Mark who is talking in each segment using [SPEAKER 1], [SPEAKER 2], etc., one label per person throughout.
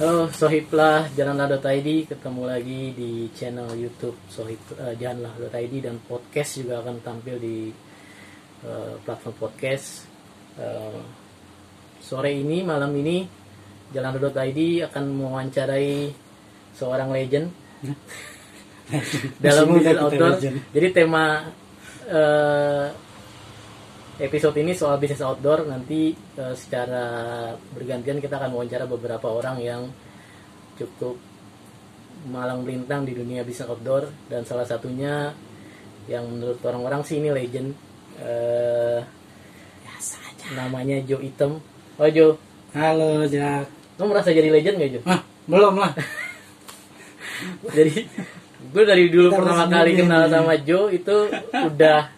[SPEAKER 1] Halo Sohiblah Janganlah.id ketemu lagi di channel YouTube Sohib eh, Janganlah.id dan podcast juga akan tampil di eh, platform podcast. Eh, sore ini malam ini Janganlah.id akan mewawancarai seorang legend dalam
[SPEAKER 2] Masih muda
[SPEAKER 1] bisnis
[SPEAKER 2] kita
[SPEAKER 1] outdoor.
[SPEAKER 2] legend.
[SPEAKER 1] Jadi tema eh, episode ini soal bisnis outdoor nanti eh, secara bergantian kita akan wawancara beberapa orang yang cukup malang melintang di dunia bisnis outdoor dan salah satunya yang menurut orang-orang sih ini legend eh, namanya Joe Item oh Joe
[SPEAKER 2] Halo Jak.
[SPEAKER 1] lo merasa jadi legend gak Joe?
[SPEAKER 2] Ah, belum lah.
[SPEAKER 1] jadi gue dari dulu
[SPEAKER 2] Kita
[SPEAKER 1] pertama
[SPEAKER 2] harus
[SPEAKER 1] kali
[SPEAKER 2] nungguin
[SPEAKER 1] kenal
[SPEAKER 2] nih.
[SPEAKER 1] sama Joe itu udah eh,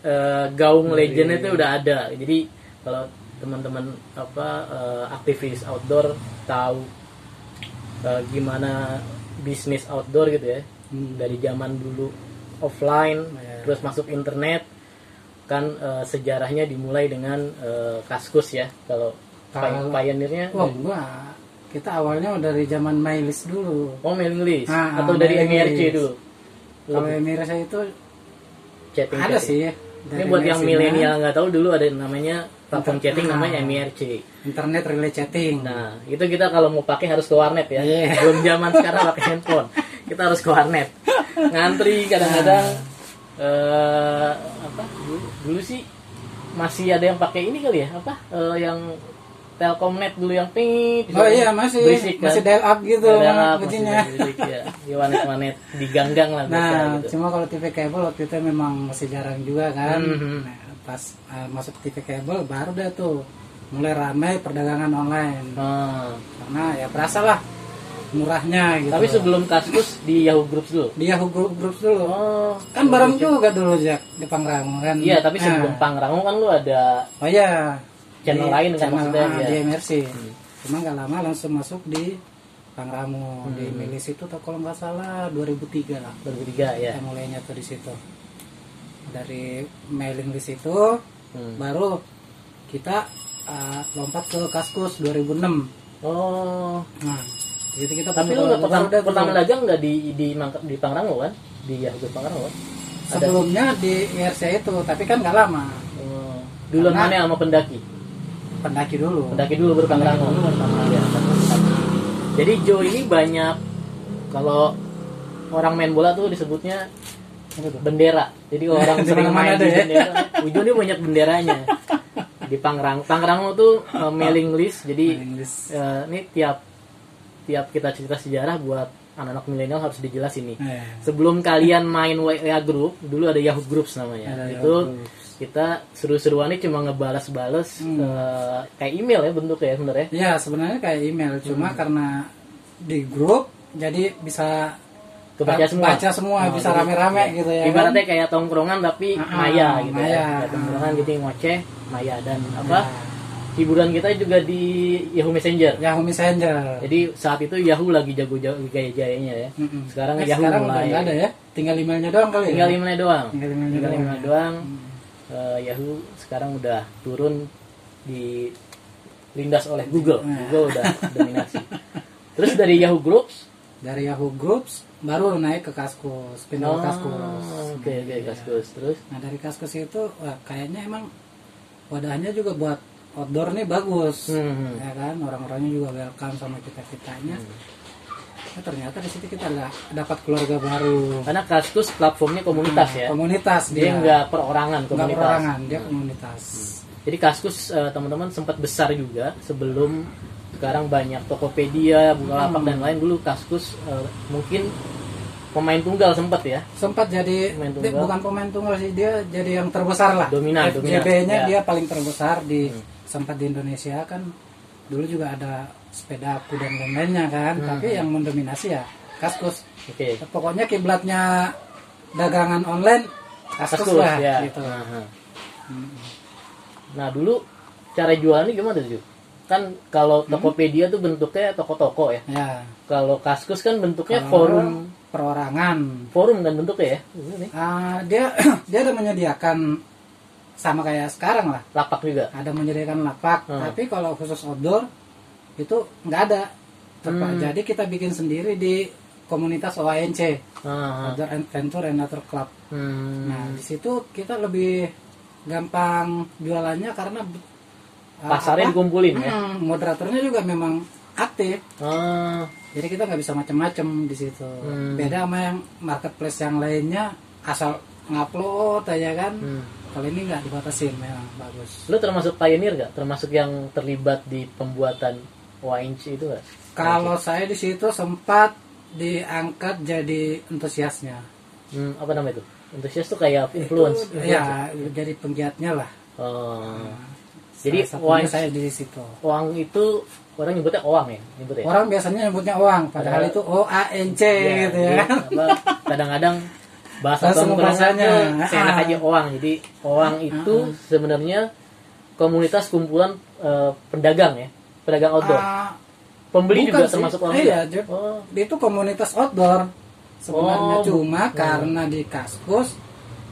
[SPEAKER 2] Iya,
[SPEAKER 1] gaung legendnya itu udah ada jadi kalau teman-teman apa eh, aktivis outdoor tahu eh, gimana bisnis outdoor gitu ya
[SPEAKER 2] Hmm.
[SPEAKER 1] dari zaman dulu offline
[SPEAKER 2] Iya.
[SPEAKER 1] terus masuk internet kan eh, sejarahnya dimulai dengan eh, kaskus ya kalau
[SPEAKER 2] Kalau-
[SPEAKER 1] pioneernya
[SPEAKER 2] Ah. Wah, gua Oh, kita awalnya dari zaman Mailis dulu.
[SPEAKER 1] oh mailing list
[SPEAKER 2] Ah, ah,
[SPEAKER 1] atau dari
[SPEAKER 2] mailing
[SPEAKER 1] MRC
[SPEAKER 2] list.
[SPEAKER 1] dulu
[SPEAKER 2] Kalau Emirasa itu
[SPEAKER 1] chatting
[SPEAKER 2] ada
[SPEAKER 1] chatting.
[SPEAKER 2] sih. ya.
[SPEAKER 1] Ini
[SPEAKER 2] dari
[SPEAKER 1] buat yang
[SPEAKER 2] Mailis-nya,
[SPEAKER 1] milenial nggak tahu dulu ada namanya platform
[SPEAKER 2] Internet.
[SPEAKER 1] chatting
[SPEAKER 2] Ah.
[SPEAKER 1] namanya MIRC.
[SPEAKER 2] Internet relay chatting.
[SPEAKER 1] Nah, itu kita kalau mau pakai harus ke warnet ya.
[SPEAKER 2] Iya.
[SPEAKER 1] Belum zaman sekarang pakai handphone. Kita harus ke warnet. Ngantri kadang-kadang eh apa? Dulu, dulu sih masih ada yang pakai ini kali ya, apa? Eh, yang Telkomnet dulu yang ping.
[SPEAKER 2] oh iya masih
[SPEAKER 1] berisik, kan?
[SPEAKER 2] masih dial up gitu
[SPEAKER 1] Ada
[SPEAKER 2] kan,
[SPEAKER 1] lah, masih
[SPEAKER 2] kucingnya.
[SPEAKER 1] berisik, ya. Di warnet-warnet di ganggang lah biasa
[SPEAKER 2] Nah,
[SPEAKER 1] gitu.
[SPEAKER 2] cuma kalau TV kabel waktu itu memang masih jarang juga kan.
[SPEAKER 1] Mhm.
[SPEAKER 2] Nah, pas eh, masuk TV kabel baru dah tuh mulai ramai perdagangan online.
[SPEAKER 1] Ah.
[SPEAKER 2] Karena ya berasa lah murahnya gitu.
[SPEAKER 1] Tapi sebelum Kaskus di Yahoo Groups dulu.
[SPEAKER 2] dia grup grup dulu.
[SPEAKER 1] Oh,
[SPEAKER 2] kan bareng juga dulu Jak di Pangrango kan
[SPEAKER 1] Iya, tapi sebelum
[SPEAKER 2] Ah.
[SPEAKER 1] Pangrango kan lu ada
[SPEAKER 2] oh iya
[SPEAKER 1] Channel
[SPEAKER 2] Di
[SPEAKER 1] lain kan
[SPEAKER 2] channel,
[SPEAKER 1] maksudnya,
[SPEAKER 2] ah,
[SPEAKER 1] iya.
[SPEAKER 2] di MRC cuma nggak lama langsung masuk di Pangrango di
[SPEAKER 1] Hmm.
[SPEAKER 2] Milis itu tuh kalau nggak salah 2003 lah
[SPEAKER 1] 2003 ya.
[SPEAKER 2] kita mulainya tuh di situ dari mailing list itu
[SPEAKER 1] Hmm.
[SPEAKER 2] baru kita ah, lompat ke Kaskus 2006
[SPEAKER 1] Oh,
[SPEAKER 2] nah di situ kita
[SPEAKER 1] tapi
[SPEAKER 2] punya
[SPEAKER 1] lu nggak pertama,
[SPEAKER 2] baru dah tuh.
[SPEAKER 1] pertama dagang nggak di di Mangka- di Pangrango kan? Di Yahoo Group Pangrango kan? Ada.
[SPEAKER 2] sebelumnya di IRC itu tapi kan nggak lama
[SPEAKER 1] Oh, duluan mana
[SPEAKER 2] Karena-
[SPEAKER 1] sama pendaki?
[SPEAKER 2] pendaki dulu
[SPEAKER 1] Pendaki dulu baru Pangrango.
[SPEAKER 2] Pendaki dulu, baru Pangrango.
[SPEAKER 1] Ya. Jadi Joe ini banyak kalau orang main bola tuh disebutnya
[SPEAKER 2] Apa tuh?
[SPEAKER 1] bendera. Jadi orang
[SPEAKER 2] Di
[SPEAKER 1] sering main
[SPEAKER 2] mana-mana
[SPEAKER 1] di
[SPEAKER 2] ada ya.
[SPEAKER 1] bendera. Ujung dia banyak benderanya. Di Pangrango, Pangrango tuh eh, mailing list. Jadi
[SPEAKER 2] Mailing list.
[SPEAKER 1] Eh, ini tiap tiap kita cerita sejarah buat anak-anak milenial harus dijelas ini.
[SPEAKER 2] Eh,
[SPEAKER 1] Sebelum kalian main WA group, dulu ada Yahoo Groups namanya.
[SPEAKER 2] Ada
[SPEAKER 1] itu
[SPEAKER 2] Yahoo Groups. Hmm.
[SPEAKER 1] kita seru-seruannya cuma ngebalas-balas eh, kayak email ya bentuknya ya sebenarnya.
[SPEAKER 2] ya sebenarnya kayak email
[SPEAKER 1] Hmm.
[SPEAKER 2] cuma karena di grup jadi bisa
[SPEAKER 1] Kebaca semua.
[SPEAKER 2] baca semua,
[SPEAKER 1] Oh,
[SPEAKER 2] bisa
[SPEAKER 1] jadi-
[SPEAKER 2] rame-rame gitu ya kan?
[SPEAKER 1] Ibaratnya kayak tongkrongan tapi
[SPEAKER 2] Ah,
[SPEAKER 1] maya gitu. ya.
[SPEAKER 2] maya.
[SPEAKER 1] Kayak tongkrongan gitu ngoceh, maya dan apa?
[SPEAKER 2] Nah,
[SPEAKER 1] Hiburan kita juga di Yahoo Messenger.
[SPEAKER 2] Yahoo Messenger
[SPEAKER 1] Jadi saat itu Yahoo lagi jago-jago gaya-gayanya ya.
[SPEAKER 2] Mm-mm.
[SPEAKER 1] Sekarang
[SPEAKER 2] Eh,
[SPEAKER 1] Yahoo
[SPEAKER 2] sekarang udah
[SPEAKER 1] mulai
[SPEAKER 2] nggak ada ya tinggal emailnya doang kali
[SPEAKER 1] tinggal
[SPEAKER 2] ya?
[SPEAKER 1] emailnya doang
[SPEAKER 2] Tinggal emailnya
[SPEAKER 1] tinggal
[SPEAKER 2] doang.
[SPEAKER 1] emailnya doang Eh, Yahoo sekarang udah turun di lindas oleh Google
[SPEAKER 2] Nah.
[SPEAKER 1] Google udah dominasi terus dari Yahoo Groups
[SPEAKER 2] dari Yahoo Groups baru naik ke Kaskus pindah
[SPEAKER 1] oh,
[SPEAKER 2] ke Kaskus
[SPEAKER 1] oke oke Kaskus terus
[SPEAKER 2] nah dari Kaskus itu wah, kayaknya emang wadahnya juga buat outdoor nih bagus
[SPEAKER 1] Hmm.
[SPEAKER 2] ya kan orang-orangnya juga welcome sama kita kitanya Nah, ternyata di situ kita ada- dapat keluarga baru
[SPEAKER 1] karena Kaskus platformnya komunitas ya
[SPEAKER 2] komunitas
[SPEAKER 1] dia nggak perorangan
[SPEAKER 2] Hmm. iya. nggak
[SPEAKER 1] komunitas Iya.
[SPEAKER 2] perorangan dia komunitas
[SPEAKER 1] jadi Kaskus eh, teman-teman sempat besar juga sebelum sekarang banyak Tokopedia, Bukalapak
[SPEAKER 2] Hmm.
[SPEAKER 1] dan lain dulu Kaskus eh, mungkin pemain tunggal sempat ya
[SPEAKER 2] sempat jadi
[SPEAKER 1] Pemain
[SPEAKER 2] dia
[SPEAKER 1] tunggal.
[SPEAKER 2] bukan pemain tunggal sih dia jadi yang terbesar lah
[SPEAKER 1] Dominan, Iya. Hmm.
[SPEAKER 2] FJB-nya
[SPEAKER 1] dominan.
[SPEAKER 2] dia paling terbesar di sempat di Indonesia kan dulu juga ada sepeda aku dan lain-lainnya kan
[SPEAKER 1] Hmm.
[SPEAKER 2] tapi yang mendominasi ya kaskus
[SPEAKER 1] oke
[SPEAKER 2] pokoknya kiblatnya dagangan online kaskus,
[SPEAKER 1] Kaskus,
[SPEAKER 2] lah
[SPEAKER 1] ya.
[SPEAKER 2] gitu
[SPEAKER 1] Aha. Nah dulu cara jualnya gimana tuh? Ju? Kan kalau
[SPEAKER 2] Hmm?
[SPEAKER 1] Tokopedia tuh bentuknya toko-toko ya.
[SPEAKER 2] ya
[SPEAKER 1] Kalau Kaskus kan bentuknya
[SPEAKER 2] Kalau
[SPEAKER 1] forum,
[SPEAKER 2] perorangan
[SPEAKER 1] forum kan bentuknya ya. Ini nih,
[SPEAKER 2] Ah, dia dia ada menyediakan sama kayak sekarang lah
[SPEAKER 1] Lapak juga.
[SPEAKER 2] ada menyediakan lapak
[SPEAKER 1] Hmm.
[SPEAKER 2] tapi kalau khusus outdoor itu nggak ada Terpa-
[SPEAKER 1] Hmm.
[SPEAKER 2] Jadi kita bikin sendiri di komunitas OANC,
[SPEAKER 1] Ah, ah.
[SPEAKER 2] Outdoor Adventure and Nature Club.
[SPEAKER 1] Hmm.
[SPEAKER 2] Nah, di situ kita lebih gampang jualannya karena uh,
[SPEAKER 1] pasarnya
[SPEAKER 2] apa?
[SPEAKER 1] dikumpulin ya
[SPEAKER 2] Hmm, moderatornya juga memang aktif.
[SPEAKER 1] Ah,
[SPEAKER 2] Jadi kita nggak bisa macam-macam di situ.
[SPEAKER 1] Hmm.
[SPEAKER 2] Beda sama yang marketplace yang lainnya asal ngupload aja kan.
[SPEAKER 1] hmm.
[SPEAKER 2] Kalau ini nggak dibatasin memang bagus.
[SPEAKER 1] lu termasuk pioneer gak termasuk yang terlibat di pembuatan OINC itu gak
[SPEAKER 2] Kalau saya di situ sempat diangkat jadi entusiasnya.
[SPEAKER 1] Hmm, apa namanya itu antusias tuh kayak influence,
[SPEAKER 2] Itu,
[SPEAKER 1] influence ya?
[SPEAKER 2] ya, jadi penggiatnya lah. Nah,
[SPEAKER 1] Oh. Jadi
[SPEAKER 2] Jadi uang
[SPEAKER 1] once-
[SPEAKER 2] saya di situ.
[SPEAKER 1] uang itu orang nyebutnya uang ya nyebutnya
[SPEAKER 2] Orang biasanya nyebutnya uang,
[SPEAKER 1] Padahal-
[SPEAKER 2] padahal itu O A N C
[SPEAKER 1] Iya,
[SPEAKER 2] gitu ya.
[SPEAKER 1] jadi apa, kadang-kadang bahasa
[SPEAKER 2] Bahasa
[SPEAKER 1] pembahasannya
[SPEAKER 2] pembahasannya.
[SPEAKER 1] enak
[SPEAKER 2] Ah.
[SPEAKER 1] aja uang jadi uang itu sebenarnya komunitas kumpulan eh, pedagang ya pedagang outdoor
[SPEAKER 2] Ah,
[SPEAKER 1] pembeli
[SPEAKER 2] bukan
[SPEAKER 1] juga
[SPEAKER 2] sih.
[SPEAKER 1] termasuk orang
[SPEAKER 2] Iya,
[SPEAKER 1] juga?
[SPEAKER 2] Jep.
[SPEAKER 1] oh
[SPEAKER 2] itu komunitas outdoor sebenarnya
[SPEAKER 1] Oh,
[SPEAKER 2] cuma
[SPEAKER 1] bukan.
[SPEAKER 2] karena di Kaskus.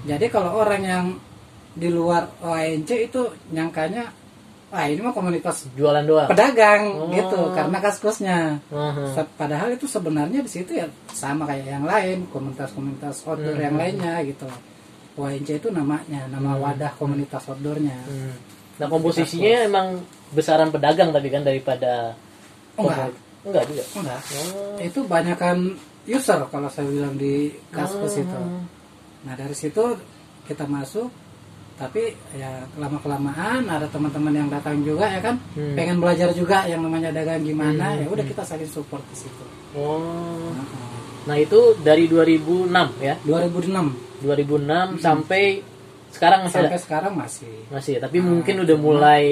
[SPEAKER 2] Jadi kalau orang yang di luar ONC itu nyangkanya ah ini mah komunitas
[SPEAKER 1] jualan doang Oh.
[SPEAKER 2] pedagang gitu karena Kaskusnya.
[SPEAKER 1] Mhm.
[SPEAKER 2] Se- Padahal itu sebenarnya di situ ya sama kayak yang lain komunitas-komunitas outdoor
[SPEAKER 1] Hmm.
[SPEAKER 2] yang lainnya gitu. ONC itu namanya, nama wadah komunitas outdoornya.
[SPEAKER 1] Hmm. nah komposisinya emang besaran pedagang tadi kan daripada
[SPEAKER 2] Oh,
[SPEAKER 1] Oh,
[SPEAKER 2] Enggak.
[SPEAKER 1] komuni- enggak juga
[SPEAKER 2] Enggak.
[SPEAKER 1] Oh.
[SPEAKER 2] Itu banyakan user kalau saya bilang di kaspus itu.
[SPEAKER 1] Oh.
[SPEAKER 2] Nah dari situ kita masuk, tapi ya lama kelamaan ada teman-teman yang datang juga ya kan,
[SPEAKER 1] Hmm.
[SPEAKER 2] pengen belajar juga yang namanya dagang gimana, ya udah kita saling support di situ.
[SPEAKER 1] oh
[SPEAKER 2] Nah,
[SPEAKER 1] nah itu dari 2006 ya
[SPEAKER 2] 2006
[SPEAKER 1] 2006 sampai sekarang masih ada
[SPEAKER 2] sampai Ah. sekarang masih
[SPEAKER 1] masih ya, tapi mungkin udah mulai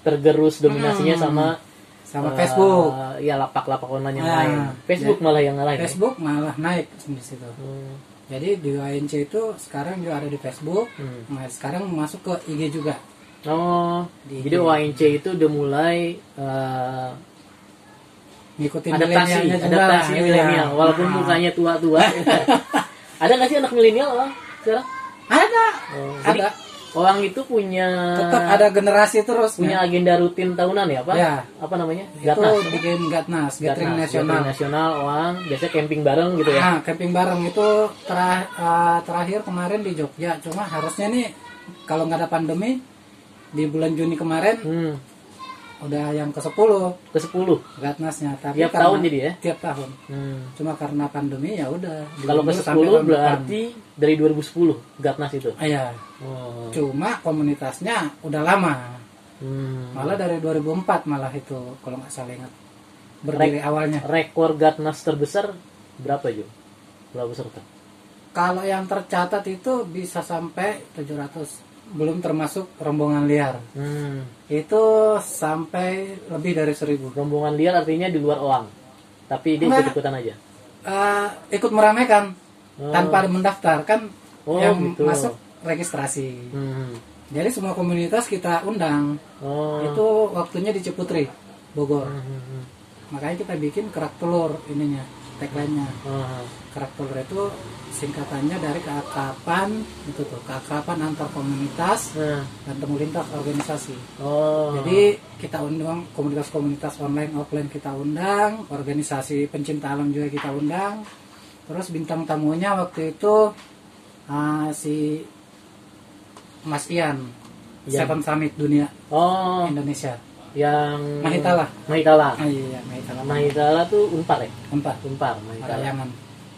[SPEAKER 1] tergerus dominasinya sama
[SPEAKER 2] sama
[SPEAKER 1] eh,
[SPEAKER 2] Facebook.
[SPEAKER 1] ya lapak-lapak online yang
[SPEAKER 2] Oh. Ah,
[SPEAKER 1] lain Facebook malah yang lain ya?
[SPEAKER 2] Facebook malah naik di situ.
[SPEAKER 1] Hmm,
[SPEAKER 2] Jadi di ANC itu sekarang juga ada di Facebook.
[SPEAKER 1] hmm.
[SPEAKER 2] Nah, sekarang masuk ke IG juga.
[SPEAKER 1] oh
[SPEAKER 2] Di-
[SPEAKER 1] jadi ONC itu udah mulai eh,
[SPEAKER 2] Ngikutin
[SPEAKER 1] adaptasi
[SPEAKER 2] milenialnya juga
[SPEAKER 1] adaptasi
[SPEAKER 2] lah, iya.
[SPEAKER 1] milenial walaupun
[SPEAKER 2] Nah,
[SPEAKER 1] mukanya tua-tua ada nggak sih anak milenial orang sekarang
[SPEAKER 2] ada
[SPEAKER 1] Oh, jadi
[SPEAKER 2] ada
[SPEAKER 1] orang itu punya
[SPEAKER 2] tetap ada generasi terus.
[SPEAKER 1] punya agenda rutin tahunan ya apa
[SPEAKER 2] Ya.
[SPEAKER 1] apa namanya
[SPEAKER 2] itu
[SPEAKER 1] Gatnas.
[SPEAKER 2] bikin Gatnas, Gathering
[SPEAKER 1] Gathering
[SPEAKER 2] Nasional.
[SPEAKER 1] Gathering nasional ya. orang biasanya camping bareng gitu ya
[SPEAKER 2] Nah, camping bareng itu tera- eh, terakhir kemarin di Jogja. Cuma harusnya nih kalau nggak ada pandemi di bulan Juni kemarin
[SPEAKER 1] hmm,
[SPEAKER 2] udah yang ke-10
[SPEAKER 1] ke 10
[SPEAKER 2] Gatnasnya. Tapi
[SPEAKER 1] tiap
[SPEAKER 2] karena-
[SPEAKER 1] tahun jadi ya
[SPEAKER 2] tiap tahun.
[SPEAKER 1] hmm.
[SPEAKER 2] Cuma karena pandemi ya udah.
[SPEAKER 1] kalau ke 10
[SPEAKER 2] diundur sampai tahun
[SPEAKER 1] berarti dari 2010 Gatnas itu
[SPEAKER 2] depan. Ah, Iya.
[SPEAKER 1] oh.
[SPEAKER 2] Cuma komunitasnya udah lama.
[SPEAKER 1] hmm.
[SPEAKER 2] Malah dari 2004 malah itu kalau nggak salah ingat. Berdiri awalnya.
[SPEAKER 1] rekor Gatnas terbesar berapa Jo? berapa peserta
[SPEAKER 2] Kalau yang tercatat itu bisa sampai 700 belum termasuk rombongan liar.
[SPEAKER 1] hmm.
[SPEAKER 2] Itu sampai lebih dari 1000.
[SPEAKER 1] rombongan liar artinya di luar orang tapi dia
[SPEAKER 2] Enggak.
[SPEAKER 1] ikut ikutan aja
[SPEAKER 2] Eh, ikut meramaikan tanpa mendaftar kan
[SPEAKER 1] Oh,
[SPEAKER 2] yang
[SPEAKER 1] gitu.
[SPEAKER 2] masuk registrasi.
[SPEAKER 1] hmm.
[SPEAKER 2] Jadi semua komunitas kita undang.
[SPEAKER 1] oh
[SPEAKER 2] Itu waktunya di Ciputri, Bogor.
[SPEAKER 1] Hmm, hmm,
[SPEAKER 2] Makanya kita bikin kerak telur ininya, tagline-nya.
[SPEAKER 1] hmm.
[SPEAKER 2] Kerak telur itu singkatannya dari keakraban itu tuh, keakraban antar komunitas
[SPEAKER 1] Nah.
[SPEAKER 2] dan temu lintas organisasi.
[SPEAKER 1] oh
[SPEAKER 2] Jadi kita undang komunitas-komunitas online offline kita undang, organisasi pencinta alam juga kita undang. Terus bintang tamunya waktu itu ah, si Mas Ian,
[SPEAKER 1] Ian.
[SPEAKER 2] Seven Summit Dunia
[SPEAKER 1] oh
[SPEAKER 2] Indonesia.
[SPEAKER 1] yang
[SPEAKER 2] Mahitala.
[SPEAKER 1] Mahitala
[SPEAKER 2] Ah, iya, iya, Mahitala
[SPEAKER 1] Mahitala tuh unpar ya
[SPEAKER 2] Tempat
[SPEAKER 1] unpar Mahitala
[SPEAKER 2] layangan.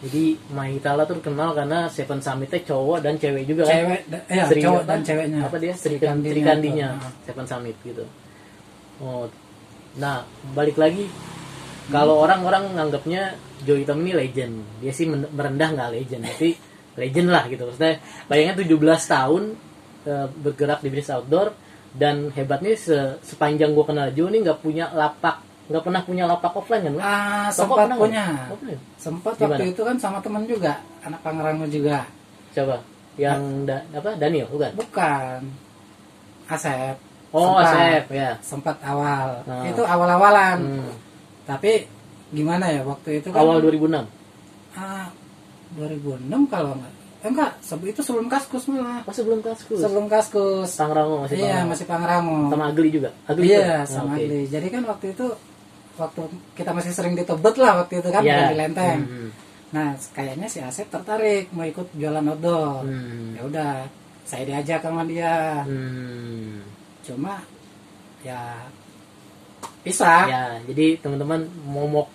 [SPEAKER 1] Jadi Mahitala tuh kenal karena Seven Summitnya cowok dan cewek juga kan.
[SPEAKER 2] Cewek, da- ya,
[SPEAKER 1] Sri
[SPEAKER 2] cowok
[SPEAKER 1] apa?
[SPEAKER 2] dan ceweknya.
[SPEAKER 1] Apa dia? Sri
[SPEAKER 2] Sri
[SPEAKER 1] Kandi-
[SPEAKER 2] Kandinya
[SPEAKER 1] Sri Kandinya
[SPEAKER 2] tuh.
[SPEAKER 1] Seven Summit gitu. Oh. Nah, balik lagi kalau orang-orang nganggapnya Joe Hitam ini legend. Dia sih men- merendah nggak legend, tapi legend lah gitu. Maksudnya bayangin 17 tahun eh, bergerak di bisnis outdoor dan hebatnya se- sepanjang gua kenal Joe ini nggak punya lapak, nggak pernah punya lapak offline kan?
[SPEAKER 2] Ah,
[SPEAKER 1] Toko
[SPEAKER 2] sempat
[SPEAKER 1] pernah nggak?
[SPEAKER 2] punya.
[SPEAKER 1] Offline.
[SPEAKER 2] Sempat
[SPEAKER 1] Gimana?
[SPEAKER 2] waktu itu kan sama teman juga, anak Pangrango juga.
[SPEAKER 1] Coba
[SPEAKER 2] Ah.
[SPEAKER 1] yang da- apa Daniel bukan?
[SPEAKER 2] Bukan. Asep.
[SPEAKER 1] Oh,
[SPEAKER 2] Sempat.
[SPEAKER 1] Asep ya.
[SPEAKER 2] Sempat awal.
[SPEAKER 1] Ah.
[SPEAKER 2] Itu awal-awalan.
[SPEAKER 1] Hmm.
[SPEAKER 2] Tapi gimana ya waktu itu kan
[SPEAKER 1] Awal 2006.
[SPEAKER 2] ah, 2006 kalau enggak. Enggak, seb- itu sebelum Kaskus malah.
[SPEAKER 1] Oh, sebelum Kaskus.
[SPEAKER 2] Sebelum Kaskus.
[SPEAKER 1] Sangrango masih
[SPEAKER 2] Iya,
[SPEAKER 1] Sangrango.
[SPEAKER 2] masih Pangrango.
[SPEAKER 1] sama Agli juga. Agli juga?
[SPEAKER 2] Iya,
[SPEAKER 1] Ah,
[SPEAKER 2] sama
[SPEAKER 1] oke.
[SPEAKER 2] Agli. Jadi kan waktu itu waktu kita masih sering ditebet lah waktu itu kan
[SPEAKER 1] Iya.
[SPEAKER 2] bukan di lenteng.
[SPEAKER 1] Hmm,
[SPEAKER 2] Nah kayaknya si Asep tertarik mau ikut jualan outdoor.
[SPEAKER 1] hmm,
[SPEAKER 2] Ya udah saya diajak sama dia.
[SPEAKER 1] hmm.
[SPEAKER 2] Cuma ya pisah.
[SPEAKER 1] Ya, jadi teman-teman momok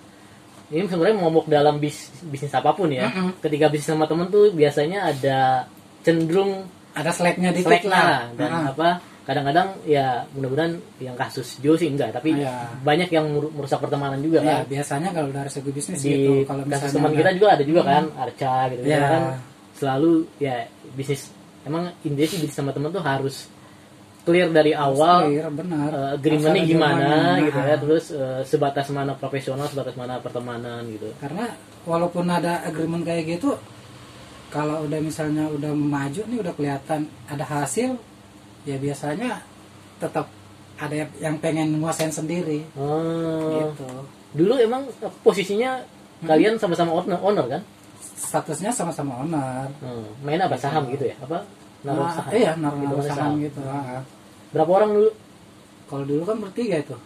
[SPEAKER 1] ini sebenarnya momok dalam bis, bisnis apapun ya.
[SPEAKER 2] Mm-mm.
[SPEAKER 1] Ketika bisnis sama temen tuh biasanya ada cenderung
[SPEAKER 2] Ada seleknya dikit
[SPEAKER 1] slack
[SPEAKER 2] lah.
[SPEAKER 1] lah dan
[SPEAKER 2] Ah.
[SPEAKER 1] apa kadang-kadang ya mudah-mudahan yang kasus Jo sih enggak tapi
[SPEAKER 2] Iya.
[SPEAKER 1] banyak yang mer- merusak pertemanan juga
[SPEAKER 2] Ya,
[SPEAKER 1] kan
[SPEAKER 2] biasanya kalau dari segi bisnis
[SPEAKER 1] di
[SPEAKER 2] gitu kalau
[SPEAKER 1] kasus
[SPEAKER 2] misalnya
[SPEAKER 1] teman kita
[SPEAKER 2] nggak-
[SPEAKER 1] juga ada juga kan Arca gitu
[SPEAKER 2] Iya.
[SPEAKER 1] kan selalu ya bisnis emang intinya sih bisnis sama temen tuh harus clear dari awal
[SPEAKER 2] clear, benar.
[SPEAKER 1] eh,
[SPEAKER 2] Masalah
[SPEAKER 1] agreementnya gimana
[SPEAKER 2] jawabannya.
[SPEAKER 1] gitu
[SPEAKER 2] Nah,
[SPEAKER 1] ya terus eh, sebatas mana profesional sebatas mana pertemanan gitu
[SPEAKER 2] karena walaupun ada agreement kayak gitu kalau udah misalnya udah maju nih udah kelihatan ada hasil ya biasanya tetap ada yang- yang pengen nguasain sendiri
[SPEAKER 1] Oh.
[SPEAKER 2] gitu
[SPEAKER 1] Eh, dulu emang eh, posisinya kalian sama-sama owner, owner kan
[SPEAKER 2] statusnya sama-sama owner
[SPEAKER 1] Hmm, main apa saham gitu ya apa naruh
[SPEAKER 2] Nah,
[SPEAKER 1] saham
[SPEAKER 2] iya naruh naruh
[SPEAKER 1] Hitungannya
[SPEAKER 2] saham gitu ah.
[SPEAKER 1] berapa orang dulu
[SPEAKER 2] kalau dulu kan bertiga itu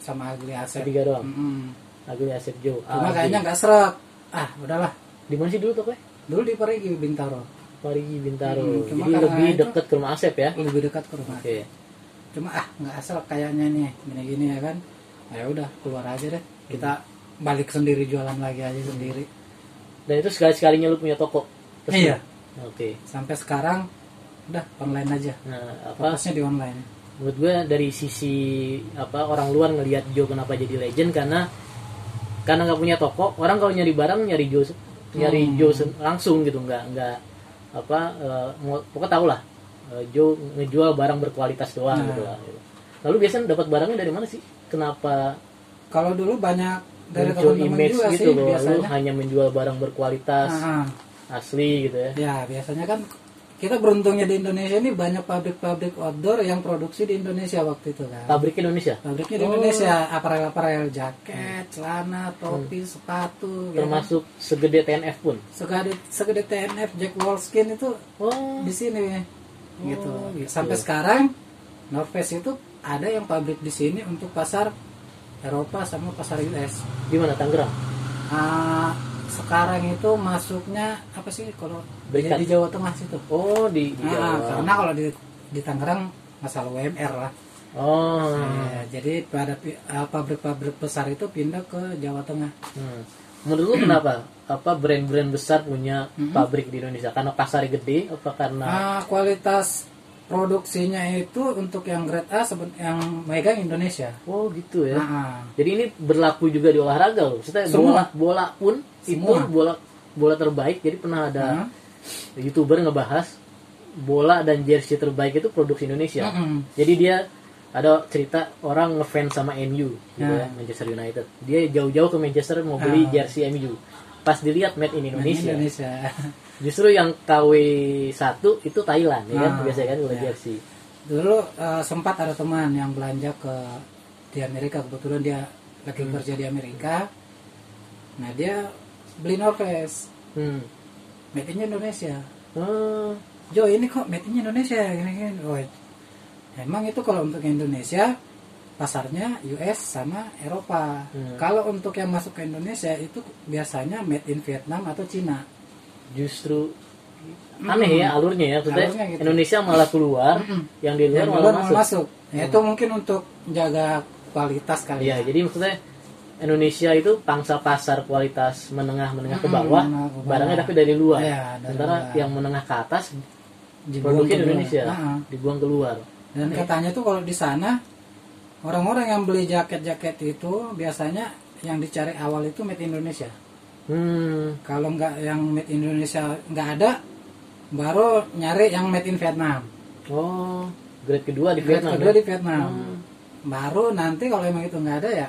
[SPEAKER 2] sama Agri Asep
[SPEAKER 1] Bertiga doang?
[SPEAKER 2] Mm-mm.
[SPEAKER 1] Agri Asep Joe
[SPEAKER 2] cuma
[SPEAKER 1] Aldi.
[SPEAKER 2] kayaknya nggak seret ah udahlah
[SPEAKER 1] di mana sih dulu tuh Pak?
[SPEAKER 2] dulu di Parigi Bintaro
[SPEAKER 1] Parigi Bintaro
[SPEAKER 2] Hmm, cuma
[SPEAKER 1] jadi
[SPEAKER 2] karena
[SPEAKER 1] lebih
[SPEAKER 2] itu-
[SPEAKER 1] dekat ke rumah Asep ya oke
[SPEAKER 2] lebih dekat ke rumah cuma ah nggak asal kayaknya nih gini gini ya kan Nah, ya udah keluar aja deh kita
[SPEAKER 1] Hmm.
[SPEAKER 2] balik sendiri jualan lagi aja sendiri
[SPEAKER 1] dan itu sekali sekalinya lu punya toko Terus-
[SPEAKER 2] iya
[SPEAKER 1] oke
[SPEAKER 2] sampai sekarang udah online aja
[SPEAKER 1] nah apa
[SPEAKER 2] fokusnya di online
[SPEAKER 1] menurut gue dari sisi apa orang luar ngelihat Joe kenapa jadi legend karena karena nggak punya toko orang kalau nyari barang nyari Joe se- nyari
[SPEAKER 2] Hmm.
[SPEAKER 1] Joe sen- langsung gitu nggak nggak apa eh, mau- pokoknya tau lah eh, Joe ngejual barang berkualitas doang
[SPEAKER 2] Nah.
[SPEAKER 1] gitu lah gitu. lalu biasanya dapat barangnya dari mana sih kenapa
[SPEAKER 2] kalau dulu banyak dari
[SPEAKER 1] muncul
[SPEAKER 2] teman-teman
[SPEAKER 1] image
[SPEAKER 2] juga
[SPEAKER 1] gitu
[SPEAKER 2] sih
[SPEAKER 1] loh lu
[SPEAKER 2] biasanya
[SPEAKER 1] hanya menjual barang berkualitas
[SPEAKER 2] Ah, ah.
[SPEAKER 1] asli gitu ya
[SPEAKER 2] ya biasanya kan kita beruntungnya di Indonesia ini banyak pabrik-pabrik outdoor yang produksi di Indonesia waktu itu kan
[SPEAKER 1] pabrik Indonesia
[SPEAKER 2] pabriknya di
[SPEAKER 1] Oh. Hmm.
[SPEAKER 2] Indonesia aparel-aparel jaket celana topi sepatu ya kan?
[SPEAKER 1] termasuk segede TNF pun
[SPEAKER 2] segede segede TNF Jack Wolfskin itu
[SPEAKER 1] oh
[SPEAKER 2] di sini gitu.
[SPEAKER 1] gitu.
[SPEAKER 2] sampai sekarang North Face itu ada yang pabrik di sini untuk pasar Eropa sama pasar US
[SPEAKER 1] di mana Tangerang
[SPEAKER 2] Ah, sekarang itu masuknya apa sih kalau
[SPEAKER 1] Berikat.
[SPEAKER 2] di Jawa Tengah situ
[SPEAKER 1] oh di, di
[SPEAKER 2] Ah,
[SPEAKER 1] Jawa.
[SPEAKER 2] karena kalau di di Tangerang masalah UMR lah
[SPEAKER 1] oh
[SPEAKER 2] Eh, jadi pada pi- ah, pabrik-pabrik besar itu pindah ke Jawa Tengah
[SPEAKER 1] Hmm. menurut lu kenapa apa brand-brand besar punya pabrik di Indonesia karena pasarnya gede apa karena
[SPEAKER 2] Hmm. Ah, kualitas produksinya itu untuk yang grade A seben- yang megang Indonesia
[SPEAKER 1] oh gitu ya
[SPEAKER 2] Ah,
[SPEAKER 1] jadi ini berlaku juga di olahraga loh Maksudnya bola
[SPEAKER 2] Semua.
[SPEAKER 1] bola pun
[SPEAKER 2] Semua.
[SPEAKER 1] itu bola bola terbaik jadi pernah ada
[SPEAKER 2] ah.
[SPEAKER 1] youtuber ngebahas bola dan jersey terbaik itu produksi Indonesia.
[SPEAKER 2] Mm-mm.
[SPEAKER 1] Jadi dia ada cerita orang ngefans sama MU gitu ya,
[SPEAKER 2] Nah.
[SPEAKER 1] Manchester United. Dia jauh-jauh ke Manchester mau beli
[SPEAKER 2] Ah.
[SPEAKER 1] jersey MU. Pas dilihat made in Indonesia,
[SPEAKER 2] Indonesia.
[SPEAKER 1] justru yang KW 1 itu Thailand ya kan
[SPEAKER 2] Ah,
[SPEAKER 1] biasanya kan kalau
[SPEAKER 2] iya.
[SPEAKER 1] jersey.
[SPEAKER 2] Dulu eh, sempat ada teman yang belanja ke di Amerika kebetulan dia lagi kerja di Amerika. Nah dia beli Norves,
[SPEAKER 1] Hmm.
[SPEAKER 2] made in Indonesia.
[SPEAKER 1] Ah,
[SPEAKER 2] Jo ini kok made in Indonesia gini gini. Oh, emang itu kalau untuk Indonesia pasarnya US sama Eropa.
[SPEAKER 1] Hmm.
[SPEAKER 2] Kalau untuk yang masuk ke Indonesia itu biasanya made in Vietnam atau Cina.
[SPEAKER 1] justru aneh ya alurnya ya maksudnya
[SPEAKER 2] Hmm. Alurnya gitu. Hmm.
[SPEAKER 1] Indonesia malah keluar yang di luar
[SPEAKER 2] Yang
[SPEAKER 1] malah
[SPEAKER 2] duluan
[SPEAKER 1] masuk. Hmm.
[SPEAKER 2] mau masuk. Ya, Itu mungkin untuk jaga kualitas kali
[SPEAKER 1] Iya,
[SPEAKER 2] ya.
[SPEAKER 1] jadi maksudnya Indonesia itu pangsa pasar kualitas menengah menengah ke
[SPEAKER 2] Mm,
[SPEAKER 1] bawah,
[SPEAKER 2] menengah ke bawah.
[SPEAKER 1] barangnya tapi dari luar.
[SPEAKER 2] Iya, dari
[SPEAKER 1] Sementara
[SPEAKER 2] luar.
[SPEAKER 1] yang menengah ke atas
[SPEAKER 2] Dibuang
[SPEAKER 1] produknya
[SPEAKER 2] ke luar.
[SPEAKER 1] Indonesia
[SPEAKER 2] Ah, ah.
[SPEAKER 1] dibuang keluar.
[SPEAKER 2] Dan katanya tuh kalau di sana orang-orang yang beli jaket-jaket itu biasanya yang dicari awal itu made in Indonesia.
[SPEAKER 1] Hmm,
[SPEAKER 2] Kalau nggak yang made in Indonesia nggak ada, baru nyari yang made in Vietnam.
[SPEAKER 1] oh, grade kedua di
[SPEAKER 2] Grade
[SPEAKER 1] Vietnam.
[SPEAKER 2] kedua
[SPEAKER 1] ya?
[SPEAKER 2] di Vietnam.
[SPEAKER 1] Hmm.
[SPEAKER 2] Baru nanti kalau emang itu nggak ada ya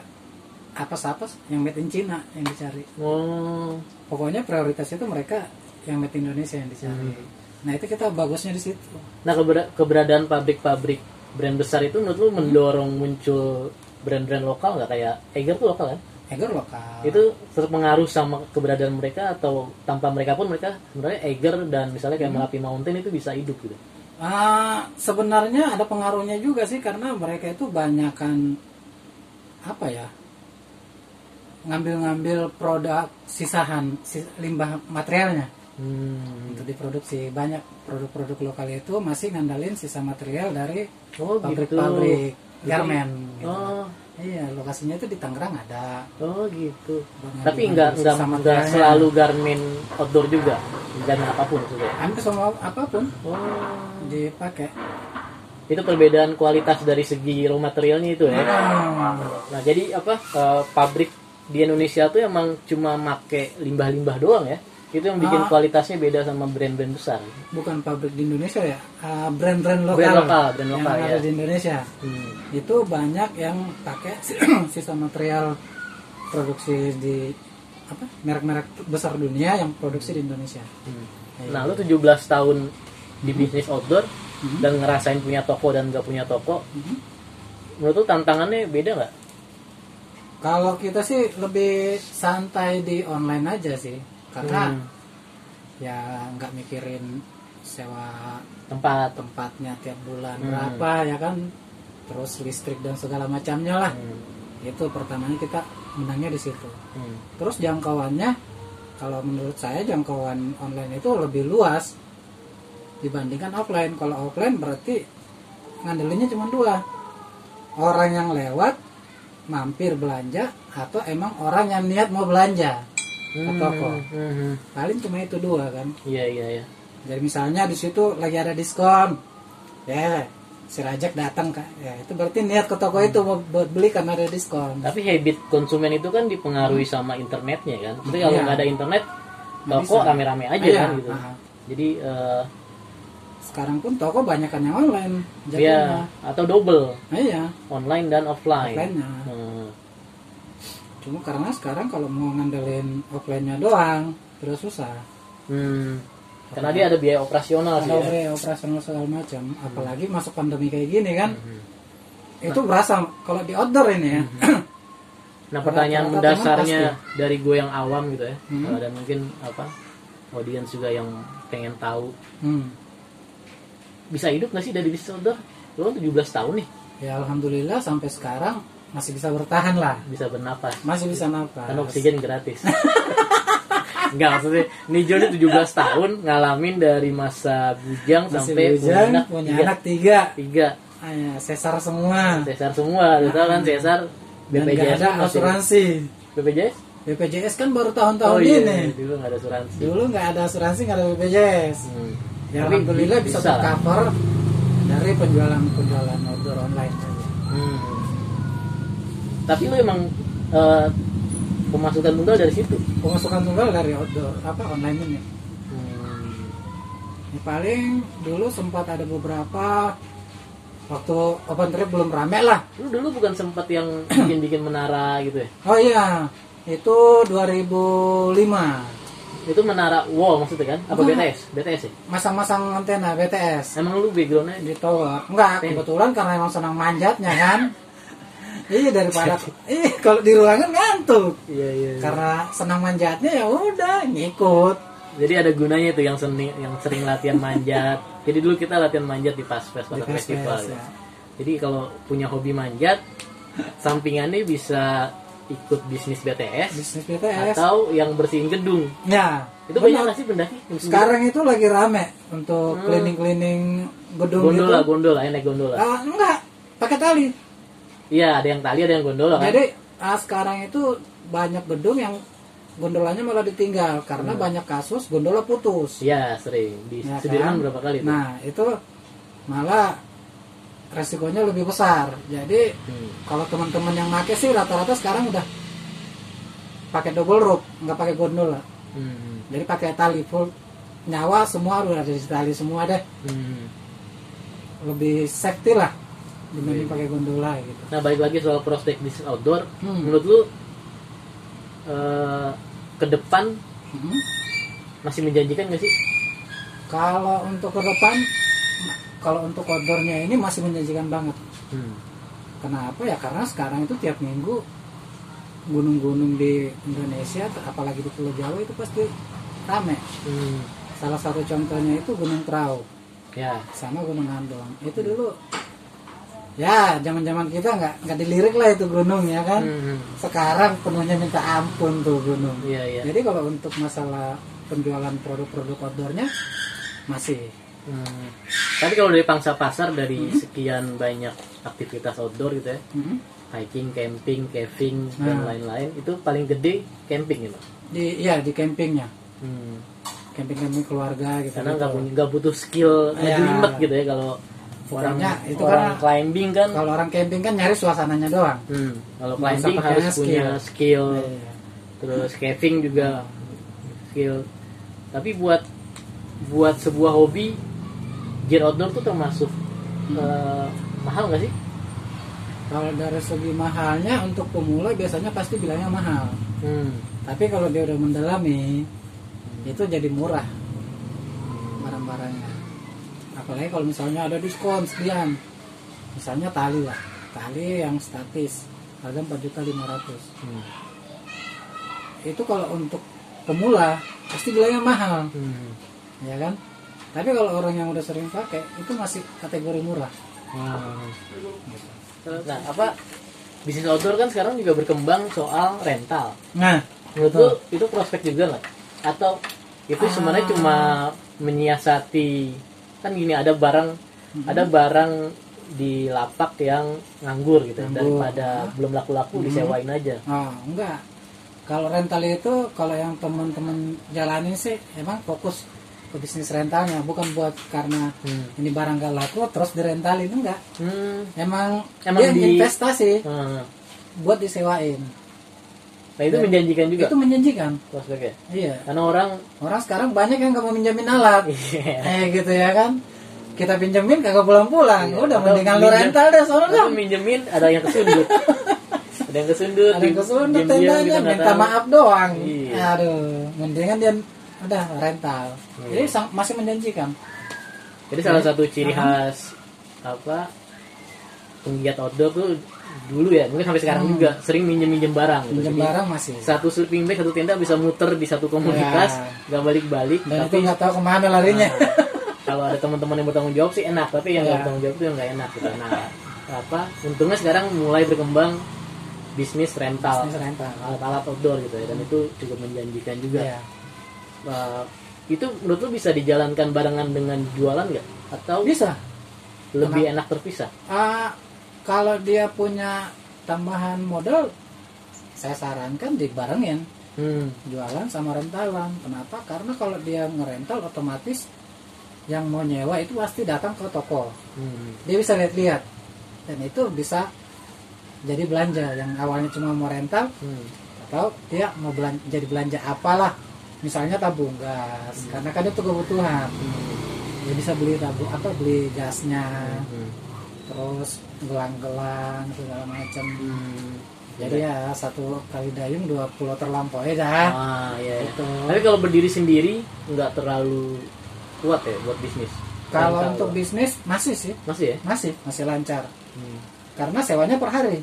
[SPEAKER 2] apa-apa yang made in Cina yang dicari.
[SPEAKER 1] Oh,
[SPEAKER 2] Pokoknya prioritas itu mereka yang made in Indonesia yang dicari.
[SPEAKER 1] Hmm.
[SPEAKER 2] Nah itu kita bagusnya di situ.
[SPEAKER 1] nah kebera- keberadaan pabrik-pabrik brand besar itu menurut lu
[SPEAKER 2] Hmm.
[SPEAKER 1] mendorong muncul brand-brand lokal nggak kayak Eiger tuh lokal kan?
[SPEAKER 2] Eger lokal.
[SPEAKER 1] itu terpengaruh sama keberadaan mereka atau tanpa mereka pun mereka sebenarnya Eiger dan misalnya kayak
[SPEAKER 2] Hmm.
[SPEAKER 1] Merapi Mountain itu bisa hidup gitu.
[SPEAKER 2] Ah, sebenarnya ada pengaruhnya juga sih karena mereka itu banyakan apa ya ngambil-ngambil produk sisahan sis- limbah materialnya
[SPEAKER 1] Hmm.
[SPEAKER 2] untuk diproduksi banyak produk-produk lokal itu masih ngandalin sisa material dari
[SPEAKER 1] Oh gitu.
[SPEAKER 2] pabrik-pabrik
[SPEAKER 1] Jadi-
[SPEAKER 2] garmen gitu.
[SPEAKER 1] Oh,
[SPEAKER 2] iya lokasinya itu di Tangerang ada
[SPEAKER 1] oh gitu.
[SPEAKER 2] Banyak
[SPEAKER 1] Tapi
[SPEAKER 2] dibantu
[SPEAKER 1] nggak nggak
[SPEAKER 2] sisa
[SPEAKER 1] nggak
[SPEAKER 2] materialnya.
[SPEAKER 1] selalu garmin outdoor juga, garmin apapun juga.
[SPEAKER 2] hampir semua apapun
[SPEAKER 1] Oh,
[SPEAKER 2] dipakai
[SPEAKER 1] itu perbedaan kualitas dari segi raw materialnya itu ya.
[SPEAKER 2] Hmm.
[SPEAKER 1] Nah jadi apa eh, pabrik di Indonesia tuh emang cuma make limbah-limbah doang ya? Itu yang bikin
[SPEAKER 2] Ah.
[SPEAKER 1] kualitasnya beda sama brand-brand besar.
[SPEAKER 2] bukan pabrik di Indonesia ya eh, brand-brand lokal,
[SPEAKER 1] Brand lokal, brand
[SPEAKER 2] yang
[SPEAKER 1] lokal
[SPEAKER 2] ada
[SPEAKER 1] ya.
[SPEAKER 2] di Indonesia
[SPEAKER 1] Hmm.
[SPEAKER 2] itu banyak yang pakai sisa material produksi di apa merek-merek besar dunia yang produksi di Indonesia
[SPEAKER 1] Hmm. Nah lu 17 tahun di bisnis outdoor
[SPEAKER 2] Mhm.
[SPEAKER 1] dan ngerasain punya toko dan nggak punya toko,
[SPEAKER 2] Mhm.
[SPEAKER 1] menurut lu tantangannya beda nggak?
[SPEAKER 2] Kalau kita sih lebih santai di online aja sih, karena
[SPEAKER 1] Hmm.
[SPEAKER 2] ya nggak mikirin sewa
[SPEAKER 1] tempat.
[SPEAKER 2] tempatnya tiap bulan
[SPEAKER 1] Hmm.
[SPEAKER 2] berapa ya kan, terus listrik dan segala macamnya lah.
[SPEAKER 1] Hmm.
[SPEAKER 2] Itu pertamanya kita menangnya di situ.
[SPEAKER 1] Hmm.
[SPEAKER 2] Terus jangkauannya, kalau menurut saya jangkauan online itu lebih luas dibandingkan offline. Kalau offline berarti ngandelinnya cuma dua, orang yang lewat mampir belanja atau emang orang yang niat mau belanja. Ke toko.
[SPEAKER 1] Hmm.
[SPEAKER 2] Paling cuma itu dua kan.
[SPEAKER 1] Iya iya iya.
[SPEAKER 2] Jadi misalnya di situ lagi ada diskon, ya si Rajak datang kan, ya itu berarti niat ke toko itu mau buat beli karena ada diskon.
[SPEAKER 1] Tapi habit konsumen itu kan dipengaruhi sama internetnya kan. Jadi kalau
[SPEAKER 2] Iya.
[SPEAKER 1] nggak ada internet,
[SPEAKER 2] Nggak
[SPEAKER 1] toko
[SPEAKER 2] bisa.
[SPEAKER 1] rame-rame aja
[SPEAKER 2] Iya,
[SPEAKER 1] kan gitu.
[SPEAKER 2] ah.
[SPEAKER 1] Jadi eh,
[SPEAKER 2] Sekarang pun toko banyakan yang online.
[SPEAKER 1] ya atau double
[SPEAKER 2] Nah, Iya,
[SPEAKER 1] online dan offline.
[SPEAKER 2] offline-nya.
[SPEAKER 1] Hmm.
[SPEAKER 2] Cuma karena sekarang kalau mau ngandelin offline-nya doang, terus susah.
[SPEAKER 1] Hmm. Karena dia ada biaya operasional sih.
[SPEAKER 2] Kalau
[SPEAKER 1] Ya.
[SPEAKER 2] kayak operasional segala macam, apalagi masuk pandemi kayak gini kan, itu berasa kalau di outdoor ini ya.
[SPEAKER 1] Nah pertanyaan
[SPEAKER 2] Rata-rata
[SPEAKER 1] mendasarnya dari gue yang awam gitu ya,
[SPEAKER 2] Hmm.
[SPEAKER 1] Kalau ada mungkin apa audiens juga yang pengen tahu
[SPEAKER 2] Hmm.
[SPEAKER 1] bisa hidup nggak sih dari bisnis outdoor? Lu kan 17 tahun nih
[SPEAKER 2] Ya alhamdulillah sampai sekarang masih bisa bertahan lah,
[SPEAKER 1] bisa bernapas.
[SPEAKER 2] masih bisa
[SPEAKER 1] Kan
[SPEAKER 2] nafas.
[SPEAKER 1] oksigen gratis. Enggak maksudnya Nijo ini 17 tahun ngalamin dari masa bujang
[SPEAKER 2] Masih
[SPEAKER 1] sampai
[SPEAKER 2] bujang, punya
[SPEAKER 1] tiga,
[SPEAKER 2] anak tiga,
[SPEAKER 1] tiga.
[SPEAKER 2] Ah, ya, sesar semua.
[SPEAKER 1] Cesar semua, lu tahu kan Cesar
[SPEAKER 2] Dan gak
[SPEAKER 1] BPJS
[SPEAKER 2] ada
[SPEAKER 1] masih-
[SPEAKER 2] asuransi.
[SPEAKER 1] BPJS?
[SPEAKER 2] BPJS kan baru tahun-tahun
[SPEAKER 1] iya,
[SPEAKER 2] ini.
[SPEAKER 1] dulu nggak ada asuransi.
[SPEAKER 2] ya. Dulu nggak ada asuransi, nggak ada BPJS.
[SPEAKER 1] Hmm.
[SPEAKER 2] Ya,
[SPEAKER 1] Tapi
[SPEAKER 2] alhamdulillah bisa,
[SPEAKER 1] bisa lah.
[SPEAKER 2] tercover dari penjualan-penjualan outdoor online tadi.
[SPEAKER 1] Hmm. Tapi lu emang eh, pemasukan tunggal dari situ.
[SPEAKER 2] Pemasukan tunggal dari outdoor apa online ini.
[SPEAKER 1] Hmm.
[SPEAKER 2] Ya, paling dulu sempat ada beberapa waktu open trip belum rame lah.
[SPEAKER 1] Lu dulu bukan sempat yang bikin-bikin menara gitu ya?
[SPEAKER 2] Oh iya, itu 2005.
[SPEAKER 1] Itu menara wall maksudnya kan? Apa
[SPEAKER 2] Enggak.
[SPEAKER 1] BTS? BTS ya?
[SPEAKER 2] Masang-masang antena BTS
[SPEAKER 1] Emang lu backgroundnya
[SPEAKER 2] di tower. Enggak, kebetulan karena emang senang manjatnya kan. iya daripada iya kalau di ruangan ngantuk.
[SPEAKER 1] Iya iya. iya.
[SPEAKER 2] Karena senang manjatnya ya udah ngikut.
[SPEAKER 1] Jadi ada gunanya tuh yang seni yang sering latihan manjat. Jadi dulu kita latihan manjat di Pasfest
[SPEAKER 2] Di
[SPEAKER 1] pada
[SPEAKER 2] Fast
[SPEAKER 1] festival.
[SPEAKER 2] Fest,
[SPEAKER 1] ya.
[SPEAKER 2] ya.
[SPEAKER 1] Jadi kalau punya hobi manjat, sampingannya bisa ikut bisnis BTS
[SPEAKER 2] Bisnis BTS.
[SPEAKER 1] atau yang bersihin gedung.
[SPEAKER 2] Ya,
[SPEAKER 1] Itu banyak
[SPEAKER 2] benar.
[SPEAKER 1] nggak sih pendaki? Yang bersihin
[SPEAKER 2] Sekarang itu lagi rame untuk cleaning-cleaning
[SPEAKER 1] gedung?
[SPEAKER 2] gedung
[SPEAKER 1] gondola,
[SPEAKER 2] gitu.
[SPEAKER 1] gondola, ya, naik gondola.
[SPEAKER 2] Ah, enggak, pakai tali.
[SPEAKER 1] Iya, ada yang tali, ada yang gondola kan.
[SPEAKER 2] Jadi ah, sekarang itu banyak gedung yang gondolanya malah
[SPEAKER 1] Hmm.
[SPEAKER 2] ditinggal karena banyak kasus gondola putus.
[SPEAKER 1] Iya, sering di
[SPEAKER 2] Ya
[SPEAKER 1] Sudirman
[SPEAKER 2] kan?
[SPEAKER 1] berapa kali itu?
[SPEAKER 2] Nah, itu malah resikonya lebih besar. Jadi
[SPEAKER 1] Hmm.
[SPEAKER 2] kalau teman-teman yang make sih rata-rata sekarang udah pakai double rope, nggak pakai gondola.
[SPEAKER 1] Hmm.
[SPEAKER 2] Jadi pakai tali full nyawa semua udah ada di tali semua deh.
[SPEAKER 1] Hmm.
[SPEAKER 2] Lebih safety lah dibanding
[SPEAKER 1] Iya.
[SPEAKER 2] pakai gondola gitu.
[SPEAKER 1] Nah, balik lagi soal prospek bisnis outdoor,
[SPEAKER 2] Hmm.
[SPEAKER 1] menurut lu eh, ke depan
[SPEAKER 2] Mhm.
[SPEAKER 1] masih menjanjikan gak sih?
[SPEAKER 2] Kalau untuk ke depan, kalau untuk outdoornya ini masih menjanjikan banget. Hmm. Kenapa ya? Karena sekarang itu tiap minggu gunung-gunung di Indonesia, apalagi di Pulau Jawa itu pasti rame.
[SPEAKER 1] Hmm.
[SPEAKER 2] Salah satu contohnya itu Gunung Prau
[SPEAKER 1] Ya.
[SPEAKER 2] sama Gunung Andong. Itu dulu ya zaman zaman kita nggak nggak dilirik lah itu gunung ya kan
[SPEAKER 1] Hmm,
[SPEAKER 2] sekarang penuhnya minta ampun tuh gunung
[SPEAKER 1] Iya, iya.
[SPEAKER 2] jadi kalau untuk masalah penjualan produk-produk outdoornya masih
[SPEAKER 1] Hmm. Tapi kalau dari pangsa pasar dari
[SPEAKER 2] Hmm.
[SPEAKER 1] sekian banyak aktivitas outdoor gitu ya,
[SPEAKER 2] Mhm.
[SPEAKER 1] hiking, camping, caving dan
[SPEAKER 2] Nah.
[SPEAKER 1] lain-lain itu paling gede camping gitu.
[SPEAKER 2] di ya di campingnya
[SPEAKER 1] Hmm.
[SPEAKER 2] camping-camping keluarga gitu
[SPEAKER 1] Karena nggak punya- nggak butuh skill
[SPEAKER 2] Ya.
[SPEAKER 1] ngejelimet gitu ya kalau orang
[SPEAKER 2] Pokoknya itu
[SPEAKER 1] orang
[SPEAKER 2] karena-
[SPEAKER 1] climbing kan.
[SPEAKER 2] kalau orang camping kan nyari suasananya doang
[SPEAKER 1] Hmm. Kalau
[SPEAKER 2] Nggak usah
[SPEAKER 1] climbing harus
[SPEAKER 2] pakainya
[SPEAKER 1] punya
[SPEAKER 2] skill.
[SPEAKER 1] skill,
[SPEAKER 2] Iya.
[SPEAKER 1] terus caving juga skill. Tapi buat buat sebuah hobi gear outdoor tuh termasuk eh, mahal nggak sih?
[SPEAKER 2] kalau dari segi mahalnya untuk pemula biasanya pasti bilangnya mahal
[SPEAKER 1] Hmm.
[SPEAKER 2] tapi kalau dia udah mendalami itu jadi murah barang-barangnya apalagi kalau misalnya ada diskon sekian misalnya tali lah tali yang statis harga 4.500
[SPEAKER 1] Hmm.
[SPEAKER 2] itu kalau untuk pemula pasti bilangnya mahal
[SPEAKER 1] Hmm.
[SPEAKER 2] ya kan tapi kalau orang yang udah sering pakai itu masih kategori murah
[SPEAKER 1] Nah, apa bisnis outdoor kan sekarang juga berkembang soal rental.
[SPEAKER 2] nah
[SPEAKER 1] Menurut lu itu prospek juga nggak? Atau itu
[SPEAKER 2] Ah.
[SPEAKER 1] sebenarnya cuma menyiasati kan gini ada barang
[SPEAKER 2] Mm-hmm.
[SPEAKER 1] ada barang di lapak yang nganggur gitu
[SPEAKER 2] Nganggur. Mm-hmm.
[SPEAKER 1] daripada belum laku-laku disewain aja.
[SPEAKER 2] Ah, enggak. Kalau rental itu kalau yang teman-teman jalani sih emang fokus ke bisnis rentalnya, bukan buat karena
[SPEAKER 1] Hmm.
[SPEAKER 2] ini barang gak laku terus direntalin enggak.
[SPEAKER 1] Hmm.
[SPEAKER 2] Emang,
[SPEAKER 1] Emang
[SPEAKER 2] dia
[SPEAKER 1] di-
[SPEAKER 2] investasi
[SPEAKER 1] Hmm.
[SPEAKER 2] buat disewain.
[SPEAKER 1] Nah, itu menjanjikan juga
[SPEAKER 2] Iya. Itu menjanjikan.
[SPEAKER 1] prospeknya.
[SPEAKER 2] Iya.
[SPEAKER 1] Karena orang
[SPEAKER 2] Orang sekarang banyak yang gak mau minjemin alat.
[SPEAKER 1] Iya.
[SPEAKER 2] Eh gitu ya kan. Kita pinjemin kagak pulang-pulang. Udah
[SPEAKER 1] Atau
[SPEAKER 2] mendingan
[SPEAKER 1] Iya,
[SPEAKER 2] lu
[SPEAKER 1] minjem- Iya.
[SPEAKER 2] rental deh soalnya.
[SPEAKER 1] Atau minjemin ada yang kesundut. ada yang kesundut.
[SPEAKER 2] ada yang kesundut
[SPEAKER 1] diem-diem gitu,
[SPEAKER 2] tendanya
[SPEAKER 1] nggak
[SPEAKER 2] minta
[SPEAKER 1] tahu.
[SPEAKER 2] maaf doang
[SPEAKER 1] Iya.
[SPEAKER 2] aduh mendingan dia udah rental jadi sang- masih menjanjikan
[SPEAKER 1] Jadi salah satu ciri khas apa penggiat outdoor tuh dulu ya, mungkin sampai sekarang juga sering minjem-minjem barang. gitu.
[SPEAKER 2] pinjam
[SPEAKER 1] Jadi,
[SPEAKER 2] Hmm. barang masih
[SPEAKER 1] Satu sleeping bag, satu tenda bisa muter di satu komunitas, nggak balik-balik.
[SPEAKER 2] Ya. dan itu
[SPEAKER 1] Tapi Nah.
[SPEAKER 2] nggak tahu kemana larinya
[SPEAKER 1] kalau ada teman-teman yang bertanggung jawab sih enak, tapi yang nggak
[SPEAKER 2] Ya.
[SPEAKER 1] bertanggung jawab tuh yang nggak enak. Gitu. Nah, apa? Untungnya sekarang mulai berkembang bisnis rental
[SPEAKER 2] Bisnis rental.
[SPEAKER 1] alat-alat outdoor gitu ya, dan itu cukup menjanjikan juga.
[SPEAKER 2] Iya.
[SPEAKER 1] Eh, itu menurut lu bisa dijalankan barengan dengan jualan nggak? Atau
[SPEAKER 2] Iya. bisa
[SPEAKER 1] lebih enak terpisah?
[SPEAKER 2] Ah, kalau dia punya tambahan modal saya sarankan dibarengin
[SPEAKER 1] Hmm.
[SPEAKER 2] jualan sama rentalan kenapa karena kalau dia ngerental otomatis yang mau nyewa itu pasti datang ke toko
[SPEAKER 1] Hmm.
[SPEAKER 2] dia bisa lihat-lihat dan itu bisa jadi belanja yang awalnya cuma mau rental
[SPEAKER 1] Hmm.
[SPEAKER 2] atau dia mau belan- jadi belanja apalah misalnya tabung gas karena kan itu kebutuhan dia bisa beli tabung atau beli gasnya
[SPEAKER 1] Hmm.
[SPEAKER 2] terus gelang-gelang segala macam jadi ya satu kali dayung dua pulau terlampaui dah
[SPEAKER 1] Ah, iya, iya.
[SPEAKER 2] Gitu.
[SPEAKER 1] Tapi kalau berdiri sendiri nggak terlalu kuat ya buat bisnis.
[SPEAKER 2] kalau
[SPEAKER 1] Rental.
[SPEAKER 2] untuk bisnis masih sih
[SPEAKER 1] masih ya?
[SPEAKER 2] masih masih lancar karena sewanya per hari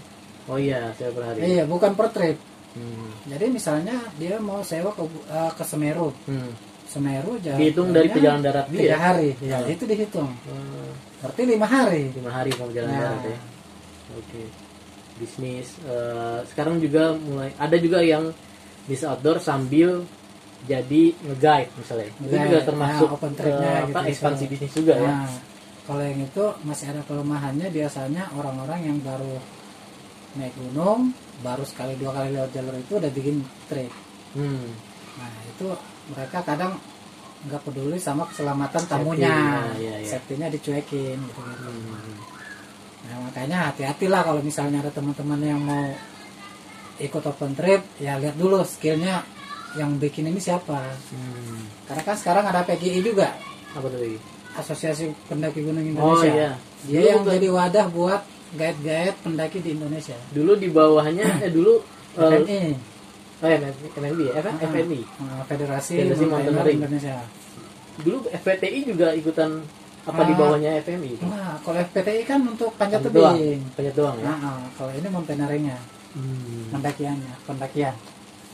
[SPEAKER 1] Oh iya, saya per hari.
[SPEAKER 2] iya bukan per trip
[SPEAKER 1] Hmm.
[SPEAKER 2] jadi misalnya dia mau sewa ke eh, ke Semeru
[SPEAKER 1] Hmm.
[SPEAKER 2] Semeru jaraknya
[SPEAKER 1] Dihitung dari perjalanan darat
[SPEAKER 2] tiga
[SPEAKER 1] dia. ya?
[SPEAKER 2] hari
[SPEAKER 1] Iya.
[SPEAKER 2] ya, itu dihitung
[SPEAKER 1] Hmm,
[SPEAKER 2] berarti lima hari
[SPEAKER 1] Lima hari mau perjalanan
[SPEAKER 2] Nah.
[SPEAKER 1] darat ya. Oke. Bisnis. eh, sekarang juga mulai ada juga yang bisnis outdoor sambil jadi nge-guide misalnya. Itu
[SPEAKER 2] Nge-guide.
[SPEAKER 1] juga termasuk
[SPEAKER 2] Nah, open trip-nya
[SPEAKER 1] eh, apa,
[SPEAKER 2] gitu,
[SPEAKER 1] ekspansi
[SPEAKER 2] misalnya.
[SPEAKER 1] bisnis juga ya.
[SPEAKER 2] Nah, kalau yang itu masih ada kelemahannya biasanya orang-orang yang baru naik gunung baru sekali dua kali lewat jalur itu udah bikin trek.
[SPEAKER 1] Hmm.
[SPEAKER 2] Nah itu mereka kadang nggak peduli sama keselamatan tamunya,
[SPEAKER 1] Nah, iya, iya.
[SPEAKER 2] safety-nya dicuekin gitu.
[SPEAKER 1] Hmm.
[SPEAKER 2] Nah makanya hati-hatilah kalau misalnya ada teman-teman yang mau ikut open trip ya lihat dulu skillnya yang bikin ini siapa.
[SPEAKER 1] Hmm.
[SPEAKER 2] Karena kan sekarang ada PGI juga
[SPEAKER 1] Apa tuh lagi?
[SPEAKER 2] Asosiasi Pendaki Gunung
[SPEAKER 1] Oh
[SPEAKER 2] Indonesia.
[SPEAKER 1] iya.
[SPEAKER 2] Dia
[SPEAKER 1] Dulu
[SPEAKER 2] yang
[SPEAKER 1] bukan-
[SPEAKER 2] jadi wadah buat guide-guide pendaki di Indonesia.
[SPEAKER 1] Dulu di bawahnya eh dulu eh
[SPEAKER 2] FMI,
[SPEAKER 1] oh, ya, FNB ya, F-
[SPEAKER 2] Ah.
[SPEAKER 1] FNI.
[SPEAKER 2] eh, Federasi
[SPEAKER 1] Federasi
[SPEAKER 2] Mountaineer
[SPEAKER 1] Mountaineering.
[SPEAKER 2] Indonesia.
[SPEAKER 1] Dulu FPTI juga ikutan apa di
[SPEAKER 2] Ah.
[SPEAKER 1] bawahnya FMI.
[SPEAKER 2] Nah, kalau FPTI kan untuk panjat
[SPEAKER 1] Panjat doang.
[SPEAKER 2] tebing.
[SPEAKER 1] Panjat doang ya.
[SPEAKER 2] Nah, ah, kalau ini mountaineeringnya,
[SPEAKER 1] Hmm.
[SPEAKER 2] pendakiannya, pendakian.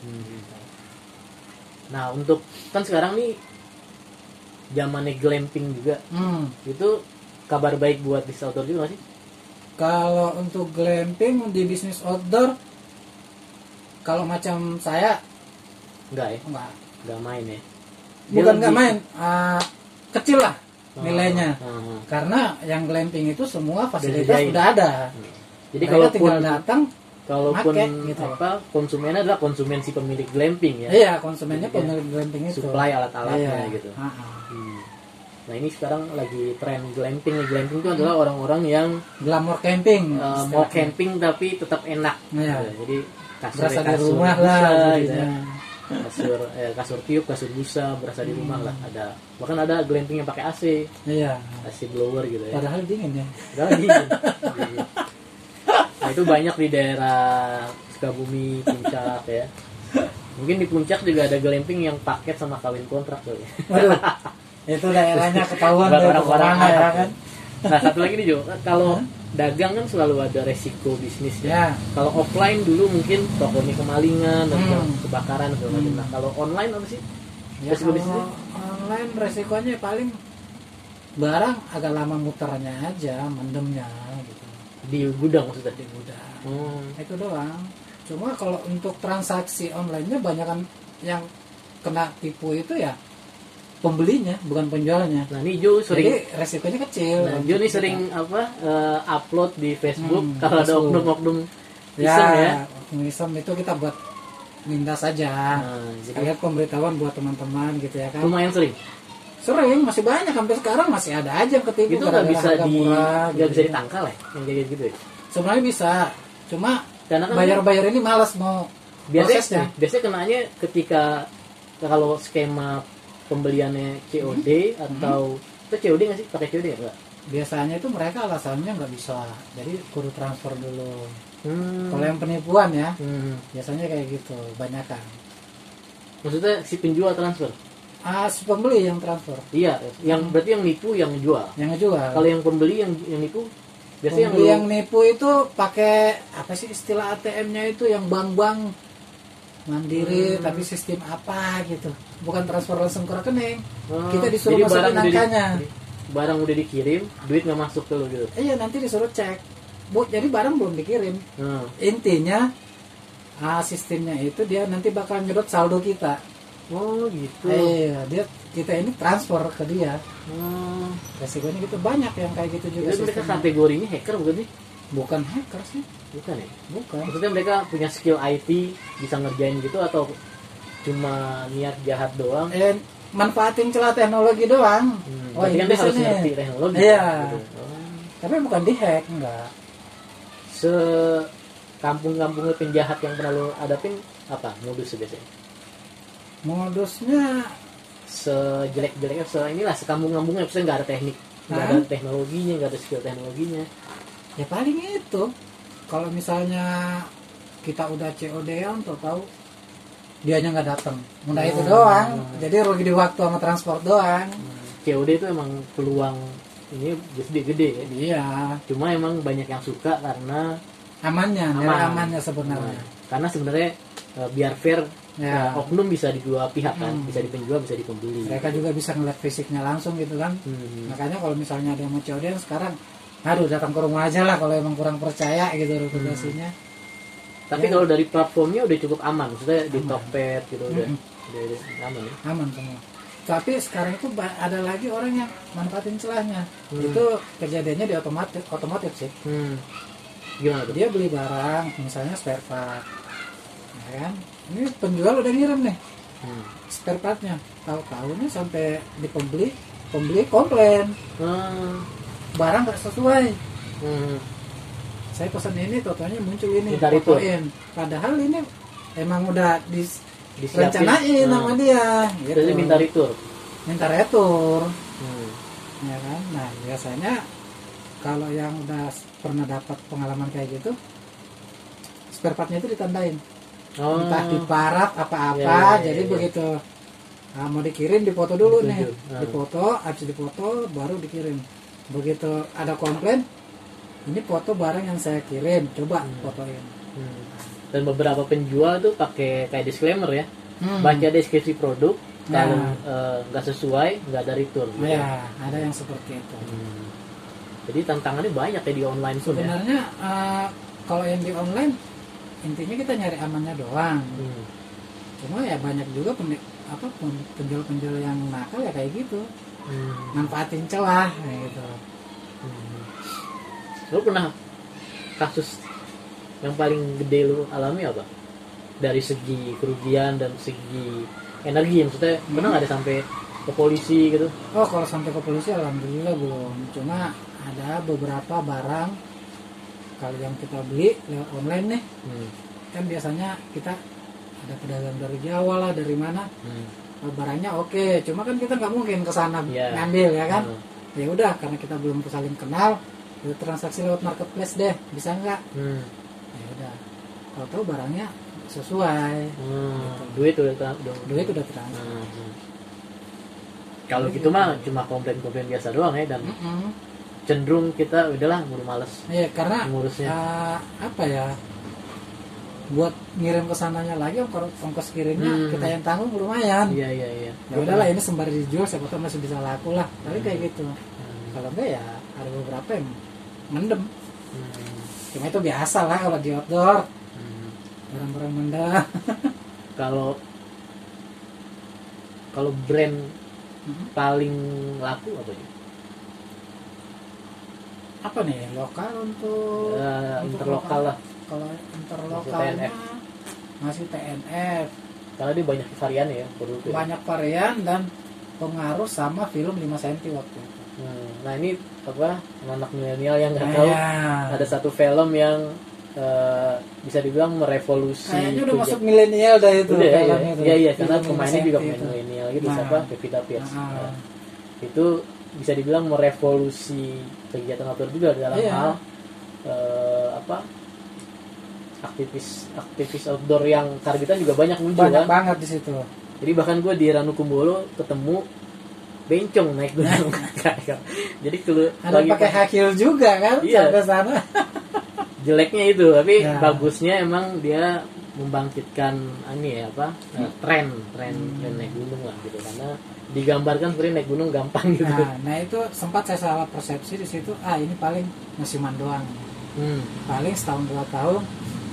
[SPEAKER 1] Hmm. Nah, untuk kan sekarang nih zamannya glamping juga.
[SPEAKER 2] Hmm,
[SPEAKER 1] Itu kabar baik buat di outdoor juga nggak sih?
[SPEAKER 2] Kalau untuk glamping di bisnis outdoor, kalau macam saya
[SPEAKER 1] Enggak ya?
[SPEAKER 2] enggak,
[SPEAKER 1] Enggak main ya? Dia
[SPEAKER 2] bukan
[SPEAKER 1] lebih-
[SPEAKER 2] nggak main, ah, kecil lah
[SPEAKER 1] Ah,
[SPEAKER 2] nilainya.
[SPEAKER 1] ah, ah.
[SPEAKER 2] Karena yang glamping itu semua fasilitas
[SPEAKER 1] disediain.
[SPEAKER 2] sudah ada.
[SPEAKER 1] Jadi
[SPEAKER 2] Mereka
[SPEAKER 1] kalaupun
[SPEAKER 2] tinggal datang,
[SPEAKER 1] kalaupun
[SPEAKER 2] make, gitu.
[SPEAKER 1] apa konsumennya adalah konsumen si pemilik glamping ya.
[SPEAKER 2] iya konsumennya
[SPEAKER 1] Jadi,
[SPEAKER 2] pemilik glamping itu.
[SPEAKER 1] Supply alat-alatnya
[SPEAKER 2] gitu. Iya.
[SPEAKER 1] gitu.
[SPEAKER 2] Ah, ah.
[SPEAKER 1] Hmm. Nah ini sekarang lagi tren glamping. Nih, Glamping itu adalah orang-orang yang
[SPEAKER 2] Glamour
[SPEAKER 1] uh,
[SPEAKER 2] camping.
[SPEAKER 1] mau
[SPEAKER 2] Hmm, istilahnya.
[SPEAKER 1] camping tapi tetap enak.
[SPEAKER 2] Iya.
[SPEAKER 1] Ya, Jadi kasur
[SPEAKER 2] Berasa di
[SPEAKER 1] kasur
[SPEAKER 2] rumah
[SPEAKER 1] busa,
[SPEAKER 2] lah.
[SPEAKER 1] gitu ya.
[SPEAKER 2] jadinya.
[SPEAKER 1] kasur eh, kasur tiup, kasur busa, berasa di rumah lah.
[SPEAKER 2] Hmm.
[SPEAKER 1] Ada bahkan ada glamping yang pakai AC,
[SPEAKER 2] Iya.
[SPEAKER 1] AC blower gitu ya.
[SPEAKER 2] Padahal dingin ya.
[SPEAKER 1] Padahal dingin. Dingin. nah, itu banyak di daerah Sukabumi, Puncak ya. Mungkin di Puncak juga ada glamping yang paket sama kawin kontrak kali ya.
[SPEAKER 2] Waduh. itu daerahnya ketahuan
[SPEAKER 1] Buat
[SPEAKER 2] tuh,
[SPEAKER 1] orang-orang
[SPEAKER 2] tetangga ya
[SPEAKER 1] Arab.
[SPEAKER 2] kan.
[SPEAKER 1] Nah satu lagi nih Jo, kalau dagang kan selalu ada resiko bisnis ya.
[SPEAKER 2] Ya.
[SPEAKER 1] Kalau offline dulu mungkin tokonya kemalingan dan
[SPEAKER 2] Hmm.
[SPEAKER 1] segala- kebakaran segala macam.
[SPEAKER 2] Hmm.
[SPEAKER 1] Nah kalau online apa sih?
[SPEAKER 2] Ya,
[SPEAKER 1] Resiko
[SPEAKER 2] kalau
[SPEAKER 1] bisnis?
[SPEAKER 2] online resikonya paling barang agak lama muternya aja, mendemnya gitu
[SPEAKER 1] Di gudang maksudnya.
[SPEAKER 2] di gudang.
[SPEAKER 1] Hmm.
[SPEAKER 2] Itu doang. Cuma kalau untuk transaksi online-nya banyakan yang kena tipu itu ya pembelinya bukan penjualnya.
[SPEAKER 1] Nah ini Jo sering,
[SPEAKER 2] Jadi eh, resikonya kecil. Gitu.
[SPEAKER 1] nah, Jo nih sering apa eh, upload di Facebook
[SPEAKER 2] Hmm,
[SPEAKER 1] kalau ada
[SPEAKER 2] Facebook.
[SPEAKER 1] oknum-oknum
[SPEAKER 2] ya,
[SPEAKER 1] iseng ya.
[SPEAKER 2] Misam itu kita buat minta saja.
[SPEAKER 1] Nah, jadi
[SPEAKER 2] Sekalian pemberitahuan buat teman-teman gitu ya kan.
[SPEAKER 1] lumayan sering.
[SPEAKER 2] Sering masih banyak sampai sekarang masih ada aja yang ketipu
[SPEAKER 1] Itu nggak
[SPEAKER 2] gara-gara
[SPEAKER 1] bisa
[SPEAKER 2] harga
[SPEAKER 1] di
[SPEAKER 2] murah,
[SPEAKER 1] nggak
[SPEAKER 2] gitu
[SPEAKER 1] bisa
[SPEAKER 2] ya.
[SPEAKER 1] ditangkal ya yang kayak gitu. ya.
[SPEAKER 2] Sebenarnya bisa. Cuma
[SPEAKER 1] Karena kan
[SPEAKER 2] bayar-bayar ini malas mau
[SPEAKER 1] biasanya
[SPEAKER 2] prosesnya.
[SPEAKER 1] biasanya kenanya ketika kalau skema pembeliannya COD
[SPEAKER 2] Mhm.
[SPEAKER 1] atau itu COD nggak sih pakai COD ya enggak?
[SPEAKER 2] Biasanya itu mereka alasannya nggak bisa. Jadi kudu transfer dulu.
[SPEAKER 1] Hmm.
[SPEAKER 2] Kalau yang penipuan ya
[SPEAKER 1] Hmm.
[SPEAKER 2] biasanya kayak gitu, banyakan.
[SPEAKER 1] Maksudnya si penjual transfer?
[SPEAKER 2] Ah, si pembeli yang transfer,
[SPEAKER 1] Iya, yang berarti yang nipu yang jual.
[SPEAKER 2] yang ngejual.
[SPEAKER 1] Kalau yang pembeli yang yang nipu biasanya
[SPEAKER 2] Pembeli
[SPEAKER 1] yang,
[SPEAKER 2] yang, nipu itu pakai apa sih istilah ATM-nya itu yang bank-bank mandiri
[SPEAKER 1] Hmm.
[SPEAKER 2] tapi sistem apa gitu bukan transfer langsung ke rekening
[SPEAKER 1] lu- Ah,
[SPEAKER 2] kita disuruh
[SPEAKER 1] jadi
[SPEAKER 2] masukin
[SPEAKER 1] barang udah di-
[SPEAKER 2] angkanya.
[SPEAKER 1] barang udah dikirim, duit nggak masuk ke lu gitu.
[SPEAKER 2] iya nanti disuruh cek bu jadi barang belum dikirim
[SPEAKER 1] Nah,
[SPEAKER 2] intinya ah, sistemnya itu dia nanti bakal nyedot saldo kita
[SPEAKER 1] oh gitu.
[SPEAKER 2] iya dia kita ini transfer ke dia
[SPEAKER 1] Hmm.
[SPEAKER 2] resikonya gitu banyak yang kayak gitu
[SPEAKER 1] Jadi Iya, mereka
[SPEAKER 2] juga
[SPEAKER 1] kan-
[SPEAKER 2] sistemnya.
[SPEAKER 1] kategorinya hacker bukan sih?
[SPEAKER 2] bukan hacker sih
[SPEAKER 1] Bukan ya?
[SPEAKER 2] bukan
[SPEAKER 1] Maksudnya mereka punya skill IT bisa ngerjain gitu atau cuma niat jahat doang?
[SPEAKER 2] eh, manfaatin celah teknologi doang
[SPEAKER 1] Hmm,
[SPEAKER 2] oh
[SPEAKER 1] berarti
[SPEAKER 2] ini
[SPEAKER 1] kan dia harus
[SPEAKER 2] bisa nih.
[SPEAKER 1] ngerti teknologi.
[SPEAKER 2] Iya.
[SPEAKER 1] Gitu. Oh.
[SPEAKER 2] tapi bukan di hack enggak
[SPEAKER 1] Se kampung-kampungnya penjahat yang pernah lo hadapin apa modus biasanya?
[SPEAKER 2] modusnya
[SPEAKER 1] Sejelek-jeleknya se inilah sekampung-kampungnya maksudnya nggak ada teknik, nggak ada teknologinya, nggak ada skill teknologinya.
[SPEAKER 2] ya paling itu kalau misalnya kita udah COD an tuh ya tahu dianya nggak datang udah itu
[SPEAKER 1] Hmm.
[SPEAKER 2] doang jadi rugi di waktu sama transport doang
[SPEAKER 1] COD itu emang peluang ini gede-gede ya.
[SPEAKER 2] iya
[SPEAKER 1] Cuma emang banyak yang suka karena
[SPEAKER 2] amannya
[SPEAKER 1] Aman.
[SPEAKER 2] nyari amannya sebenarnya
[SPEAKER 1] karena sebenarnya eh, biar fair
[SPEAKER 2] ya
[SPEAKER 1] Nah, oknum bisa di dua pihak kan,
[SPEAKER 2] Hmm.
[SPEAKER 1] bisa di penjual, bisa di pembeli.
[SPEAKER 2] mereka juga bisa ngeliat fisiknya langsung gitu kan
[SPEAKER 1] Hmm.
[SPEAKER 2] makanya kalau misalnya ada yang mau COD an sekarang aduh datang ke rumah aja lah kalau emang kurang percaya gitu reputasinya
[SPEAKER 1] Hmm. Tapi
[SPEAKER 2] Ya.
[SPEAKER 1] kalau dari platformnya udah cukup aman, maksudnya di Tokped gitu udah,
[SPEAKER 2] Hmm.
[SPEAKER 1] udah, udah aman ya.
[SPEAKER 2] aman semua tapi sekarang itu ba- ada lagi orang yang manfaatin celahnya
[SPEAKER 1] Hmm.
[SPEAKER 2] itu kejadiannya di otomotif otomotif sih
[SPEAKER 1] Hmm. Gimana tuh?
[SPEAKER 2] dia beli barang misalnya spare part ya kan ini penjual udah ngirim nih
[SPEAKER 1] Hmm.
[SPEAKER 2] spare partnya tahu-tahu nih sampai di pembeli pembeli komplain
[SPEAKER 1] Hmm.
[SPEAKER 2] barang nggak sesuai
[SPEAKER 1] Hmm.
[SPEAKER 2] saya pesan ini totalnya muncul ini
[SPEAKER 1] Minta return.
[SPEAKER 2] fotoin. padahal ini emang udah
[SPEAKER 1] Disiapin.
[SPEAKER 2] direncanain
[SPEAKER 1] Hmm.
[SPEAKER 2] sama dia gitu.
[SPEAKER 1] Terus dia minta retur.
[SPEAKER 2] minta retur
[SPEAKER 1] Hmm.
[SPEAKER 2] ya kan nah biasanya kalau yang udah pernah dapat pengalaman kayak gitu spare partnya itu ditandain
[SPEAKER 1] Oh.
[SPEAKER 2] entah diparaf apa-apa
[SPEAKER 1] Iya, iya, iya,
[SPEAKER 2] jadi
[SPEAKER 1] iya.
[SPEAKER 2] begitu ah, mau dikirim dipoto dulu
[SPEAKER 1] Ditunjuk,
[SPEAKER 2] nih
[SPEAKER 1] ah.
[SPEAKER 2] dipoto habis dipoto baru dikirim begitu ada komplain ini foto barang yang saya kirim coba
[SPEAKER 1] Hmm.
[SPEAKER 2] fotoin
[SPEAKER 1] Hmm. Dan beberapa penjual tuh pakai kayak disclaimer ya.
[SPEAKER 2] Hmm.
[SPEAKER 1] Baca deskripsi produk, kalau e,
[SPEAKER 2] Nah.
[SPEAKER 1] eh, nggak sesuai, nggak ada return. gitu.
[SPEAKER 2] ya ada yang seperti itu
[SPEAKER 1] Hmm. Jadi tantangannya banyak ya di online sun ya.
[SPEAKER 2] Sebenarnya eh, kalau yang di online intinya kita nyari amannya doang.
[SPEAKER 1] Hmm.
[SPEAKER 2] Cuma ya banyak juga pen- apa pen- penjual-penjual yang nakal ya kayak gitu.
[SPEAKER 1] Hmm.
[SPEAKER 2] Manfaatin celah kayak gitu.
[SPEAKER 1] Hmm. Lu pernah kasus yang paling gede lu alami apa? Dari segi kerugian dan segi energi maksudnya pernah nggak ada sampai ke polisi gitu?
[SPEAKER 2] Oh kalau sampai ke polisi alhamdulillah belum. Cuma ada beberapa barang kalau yang kita beli lewat online nih
[SPEAKER 1] Hmm.
[SPEAKER 2] kan biasanya kita ada pedagang dari Jawa lah dari mana
[SPEAKER 1] Hmm.
[SPEAKER 2] eh, barangnya oke cuma kan kita nggak mungkin ke sana
[SPEAKER 1] Iya.
[SPEAKER 2] ngambil ya kan ya udah karena kita belum saling kenal ya transaksi lewat marketplace deh bisa nggak
[SPEAKER 1] Hmm.
[SPEAKER 2] ya udah kalau tahu barangnya sesuai
[SPEAKER 1] Hmm. Duit udah ta-
[SPEAKER 2] duit udah terang
[SPEAKER 1] Hmm. Hmm. Kalau gitu mah cuma komplain-komplain biasa doang ya dan
[SPEAKER 2] Mm-mm.
[SPEAKER 1] cenderung kita udahlah buru males
[SPEAKER 2] Iya, karena
[SPEAKER 1] ngurusnya.
[SPEAKER 2] eh, apa ya buat ngirim ke sananya lagi ongkos ongkos kirimnya
[SPEAKER 1] Hmm.
[SPEAKER 2] kita yang tanggung lumayan
[SPEAKER 1] Iya iya iya.
[SPEAKER 2] ya udahlah ini sembari dijual siapa tahu masih bisa laku lah tapi kayak gitu
[SPEAKER 1] Hmm.
[SPEAKER 2] kalau enggak ya ada beberapa yang mendem
[SPEAKER 1] Hmm.
[SPEAKER 2] cuma itu biasa lah kalau di outdoor
[SPEAKER 1] Hmm.
[SPEAKER 2] barang-barang mendem
[SPEAKER 1] kalau kalau brand
[SPEAKER 2] Mhm.
[SPEAKER 1] paling laku apa ya?
[SPEAKER 2] apa nih lokal
[SPEAKER 1] Eh,
[SPEAKER 2] untuk Oh, untuk
[SPEAKER 1] interlokal lah.
[SPEAKER 2] kalau interlokalnya
[SPEAKER 1] TNF.
[SPEAKER 2] masih TNF
[SPEAKER 1] Karena dia banyak varian ya produknya.
[SPEAKER 2] banyak varian dan pengaruh sama film 5 cm waktu itu
[SPEAKER 1] Hmm, Nah ini apa anak milenial yang nggak tahu
[SPEAKER 2] Nah,
[SPEAKER 1] ada satu film yang eh, bisa dibilang merevolusi.
[SPEAKER 2] kayaknya udah
[SPEAKER 1] itu
[SPEAKER 2] masuk milenial dah itu
[SPEAKER 1] Udah ya, ya,
[SPEAKER 2] filmnya tuh.
[SPEAKER 1] Iya, iya, karena
[SPEAKER 2] Film
[SPEAKER 1] pemainnya
[SPEAKER 2] 5
[SPEAKER 1] juga
[SPEAKER 2] cm
[SPEAKER 1] pemain
[SPEAKER 2] itu.
[SPEAKER 1] milenial gitu
[SPEAKER 2] Nah.
[SPEAKER 1] siapa Pevita Pierce.
[SPEAKER 2] Ah,
[SPEAKER 1] Nah, itu bisa dibilang merevolusi kegiatan outdoor juga dalam
[SPEAKER 2] Iya.
[SPEAKER 1] hal eh, apa aktivis aktivis outdoor yang targetan juga banyak muncul
[SPEAKER 2] banyak
[SPEAKER 1] kan
[SPEAKER 2] banget di situ
[SPEAKER 1] jadi bahkan gue di Ranu Kumbolo ketemu bencong naik gunung jadi kalau
[SPEAKER 2] ada pakai high heel juga kan
[SPEAKER 1] Iya.
[SPEAKER 2] sampai sana
[SPEAKER 1] jeleknya itu tapi
[SPEAKER 2] Ya.
[SPEAKER 1] bagusnya emang dia membangkitkan ini ya apa eh,
[SPEAKER 2] Hmm.
[SPEAKER 1] tren tren tren naik gunung lah gitu karena digambarkan sebenarnya naik gunung gampang gitu
[SPEAKER 2] nah, nah itu sempat saya salah persepsi di situ ah ini paling musiman doang
[SPEAKER 1] Hmm.
[SPEAKER 2] paling setahun dua tahun